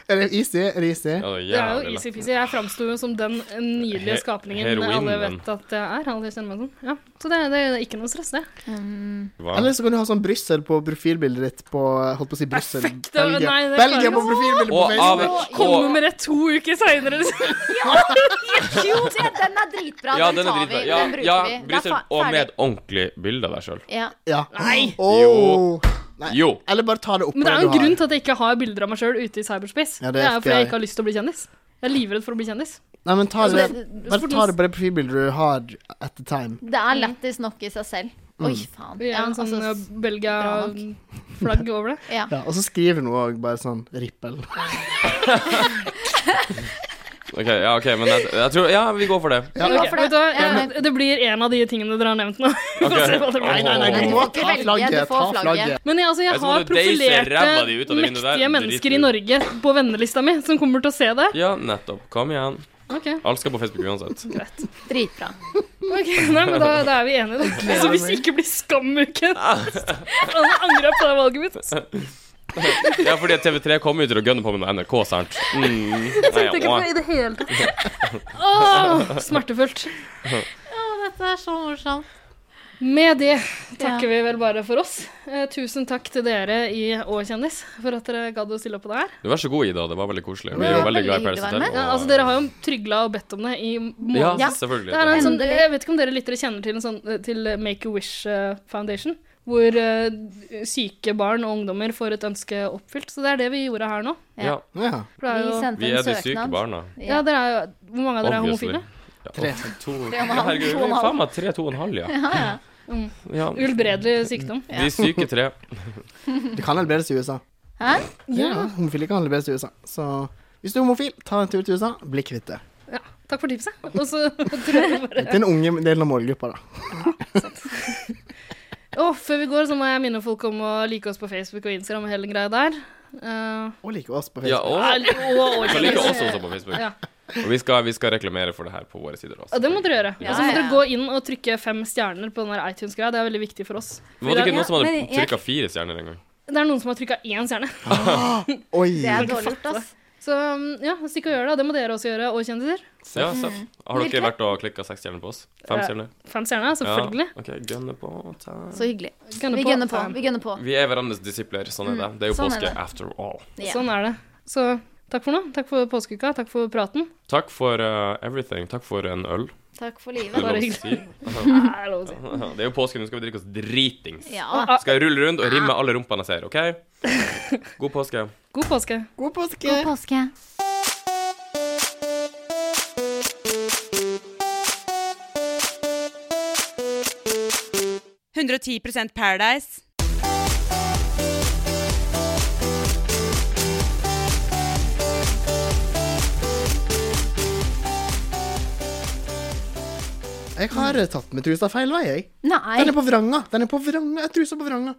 Speaker 2: Er det easy? Er det easy?
Speaker 5: Ja,
Speaker 3: Det er jo easy-peasy. Jeg framsto jo som den eh, nydelige
Speaker 5: He-
Speaker 3: skapningen
Speaker 5: heroinen.
Speaker 3: alle vet at jeg er. Alle kjenner meg sånn. Ja. Så det, det er ikke noe stress, det.
Speaker 2: Eller så kan du ha sånn Brussel på profilbildet ditt på eh, Holdt på å si Brussel.
Speaker 3: Perfekt, det var-
Speaker 2: Belgia.
Speaker 3: nei, det klarer
Speaker 2: Belgia
Speaker 3: jeg
Speaker 2: på
Speaker 3: ikke.
Speaker 2: profilbildet på
Speaker 5: Og av-
Speaker 2: Facebook.
Speaker 3: Kom med det to uker liksom. seinere.
Speaker 1: Jo, det, den er dritbra.
Speaker 5: Ja,
Speaker 1: den,
Speaker 5: den er
Speaker 1: tar vi.
Speaker 5: dritbra. Ja,
Speaker 1: den bruker
Speaker 5: ja,
Speaker 1: vi. Det er
Speaker 5: Brussel.
Speaker 1: fa-
Speaker 5: Og med
Speaker 1: ferdig.
Speaker 5: et ordentlig bilde av deg sjøl.
Speaker 1: Ja.
Speaker 2: Ja.
Speaker 3: Nei.
Speaker 2: Åh. Nei.
Speaker 5: Jo.
Speaker 2: Eller bare ta det opp
Speaker 3: Men det
Speaker 2: på
Speaker 3: er
Speaker 2: du
Speaker 3: jo en
Speaker 2: har.
Speaker 3: grunn til at jeg ikke har bilder av meg sjøl ute i cyberspace.
Speaker 2: Ja, det
Speaker 3: det,
Speaker 2: er
Speaker 3: er jo fordi jeg
Speaker 2: FBI.
Speaker 3: ikke har lyst til å bli kjendis. Jeg er livredd for å bli kjendis.
Speaker 2: Nei, men ta
Speaker 3: Altså,
Speaker 2: det,
Speaker 3: det- det-
Speaker 2: bare ta det på det profilbildet du har at the time.
Speaker 1: Det er lættis nok i seg selv. Oi,
Speaker 2: Mm.
Speaker 1: faen.
Speaker 3: Vi er
Speaker 1: Ja,
Speaker 3: en sånn
Speaker 1: altså,
Speaker 3: eh, Belgia-flagg over det.
Speaker 1: ja.
Speaker 2: Ja, og så skriver noe òg, bare sånn Rippel.
Speaker 5: Ok, ja, ok, men jeg, jeg tror Ja, vi går for det.
Speaker 2: Ja.
Speaker 3: Ok,
Speaker 1: Ja, for det-
Speaker 3: vet du hva?
Speaker 1: ja, men-
Speaker 3: Eh, det blir en av de tingene dere har nevnt nå. Vi får se hva det blir.
Speaker 2: Nei, nei, nei, du må ta
Speaker 1: velge,
Speaker 2: flagget.
Speaker 1: du får
Speaker 2: Ta
Speaker 1: flagget.
Speaker 2: flagget.
Speaker 3: Men jeg, altså, jeg
Speaker 5: Jeg
Speaker 3: har
Speaker 5: trodde du deise
Speaker 3: profilerte,
Speaker 5: ræva di ut av det vinduet der.
Speaker 3: mektige mennesker
Speaker 5: Drit
Speaker 3: i
Speaker 5: ut.
Speaker 3: Norge på vennelista mi som kommer til å se det.
Speaker 5: Ja, nettopp. Kom igjen.
Speaker 3: Ok,
Speaker 5: Alt skal på Facebook uansett.
Speaker 3: greit.
Speaker 1: Dritbra.
Speaker 3: Ok, nei, men da, da er vi enige, da.
Speaker 5: gleder
Speaker 3: Så Altså, hvis
Speaker 5: meg.
Speaker 3: det ikke blir skammuken Han angrer på det valget mitt.
Speaker 5: Ja, fordi at TV3 kommer jo til å gønne på med noe NRK, sant? Mm.
Speaker 3: Jeg
Speaker 5: Nei,
Speaker 3: tenkte ikke på det i det hele tatt. Åh, smertefullt.
Speaker 5: ja.
Speaker 1: Å, dette er så morsomt.
Speaker 3: Med det takker vi vel bare for oss. Eh, tusen takk til dere i Å kjendis for at dere gadd å stille opp på det her.
Speaker 5: Du, Vær så god, Ida. Det var veldig koselig. Vi
Speaker 3: Det
Speaker 5: er jo
Speaker 3: var
Speaker 5: veldig glad
Speaker 3: veldig
Speaker 5: i Paradise Hotel.
Speaker 3: Ja, altså,
Speaker 5: og-
Speaker 3: dere har jo trygla og bedt om det i
Speaker 5: Ja,
Speaker 3: måneder.
Speaker 5: selvfølgelig.
Speaker 3: Det er en sånn, jeg vet ikke om dere lyttere kjenner til, en sånn, eh, til Make a Wish eh, Foundation, hvor eh, syke barn og ungdommer får et ønske oppfylt. Så det er det vi gjorde her nå.
Speaker 5: Ja.
Speaker 2: Ja.
Speaker 3: For det er jo-
Speaker 5: Vi sendte Vi en er de syke søknad. barna.
Speaker 3: Ja, dere er jo, hvor mange av dere er
Speaker 5: Obviously.
Speaker 3: homofile?
Speaker 5: Ja,
Speaker 2: Tre.
Speaker 5: To,
Speaker 3: og en
Speaker 5: ja,
Speaker 3: halv,
Speaker 5: herregud,
Speaker 3: to og
Speaker 5: vi
Speaker 3: en
Speaker 5: er
Speaker 3: halv.
Speaker 5: faen meg tre, to og en halv, ja.
Speaker 3: Mm.
Speaker 5: Ja.
Speaker 3: Uhelbredelig sykdom.
Speaker 5: De syke tre.
Speaker 2: Det kan helbredes i USA.
Speaker 1: Hæ?
Speaker 2: Ja, homofile kan helbredes i USA. Så hvis du er homofil, ta en tur til USA, bli kvitt det.
Speaker 3: Ja, takk for tipset. Og så tror jeg bare
Speaker 2: Til den unge delen av målgruppa, da.
Speaker 3: Å, før vi går, så må jeg minne folk om å like oss på Facebook og Instagram og hele den greia der. Eh,
Speaker 2: Og like oss på
Speaker 5: Ja,
Speaker 2: Facebook.
Speaker 5: og
Speaker 3: Ja, og- og-
Speaker 5: kan like oss også på Facebook.
Speaker 3: Ja.
Speaker 5: Og vi skal, vi skal reklamere for det her på våre sider også.
Speaker 3: og det må dere gjøre.
Speaker 5: Ja,
Speaker 3: og så må
Speaker 5: ja,
Speaker 3: dere gå inn og trykke fem stjerner på den der iTunes-greia. Det er veldig viktig for oss.
Speaker 5: Men Var det ikke noen som hadde
Speaker 3: Men jeg-
Speaker 5: trykka fire stjerner en gang?
Speaker 3: Det er noen som har trykka én stjerne.
Speaker 2: Oi.
Speaker 5: Det er
Speaker 1: dårlig gjort, ass.
Speaker 3: Så um, ja, stikk og gjør det. og Det må dere også gjøre, og kjendiser.
Speaker 5: Ja, se. Har dere vært og klikka seks stjerner på oss? Fem
Speaker 3: Eh,
Speaker 5: stjerner?
Speaker 3: fem stjerner, selvfølgelig.
Speaker 5: Ja. Ok, gønne på. Ta.
Speaker 1: Så hyggelig.
Speaker 3: Gønne
Speaker 1: vi
Speaker 3: på.
Speaker 1: gønner på. Vi gønner på.
Speaker 5: Vi er hverandres disipler. Sånn er det. Det er jo
Speaker 1: Sånn er
Speaker 5: påske
Speaker 1: det.
Speaker 5: after all.
Speaker 1: Ja.
Speaker 3: Sånn er det. Så takk for nå. Takk for påskeuka. Takk for praten.
Speaker 5: Takk for eh, everything. Takk for en øl.
Speaker 1: Takk for
Speaker 5: Det er
Speaker 1: livet.
Speaker 5: lov å
Speaker 3: hyggelig.
Speaker 5: si.
Speaker 3: Ja, det er lov å si. Ah,
Speaker 5: Det er jo påske, nå skal vi drikke oss dritings.
Speaker 1: Ja.
Speaker 5: Skal jeg rulle rundt og rimme alle rumpene jeg ser, OK? God påske.
Speaker 3: God påske.
Speaker 2: God påske.
Speaker 1: God påske.
Speaker 4: Paradise. 110 Paradise.
Speaker 2: Jeg har eh, tatt med trusa feil vei, jeg.
Speaker 1: Nei.
Speaker 2: Den er på vranga. Den er på vranga. Jeg har trusa på vranga.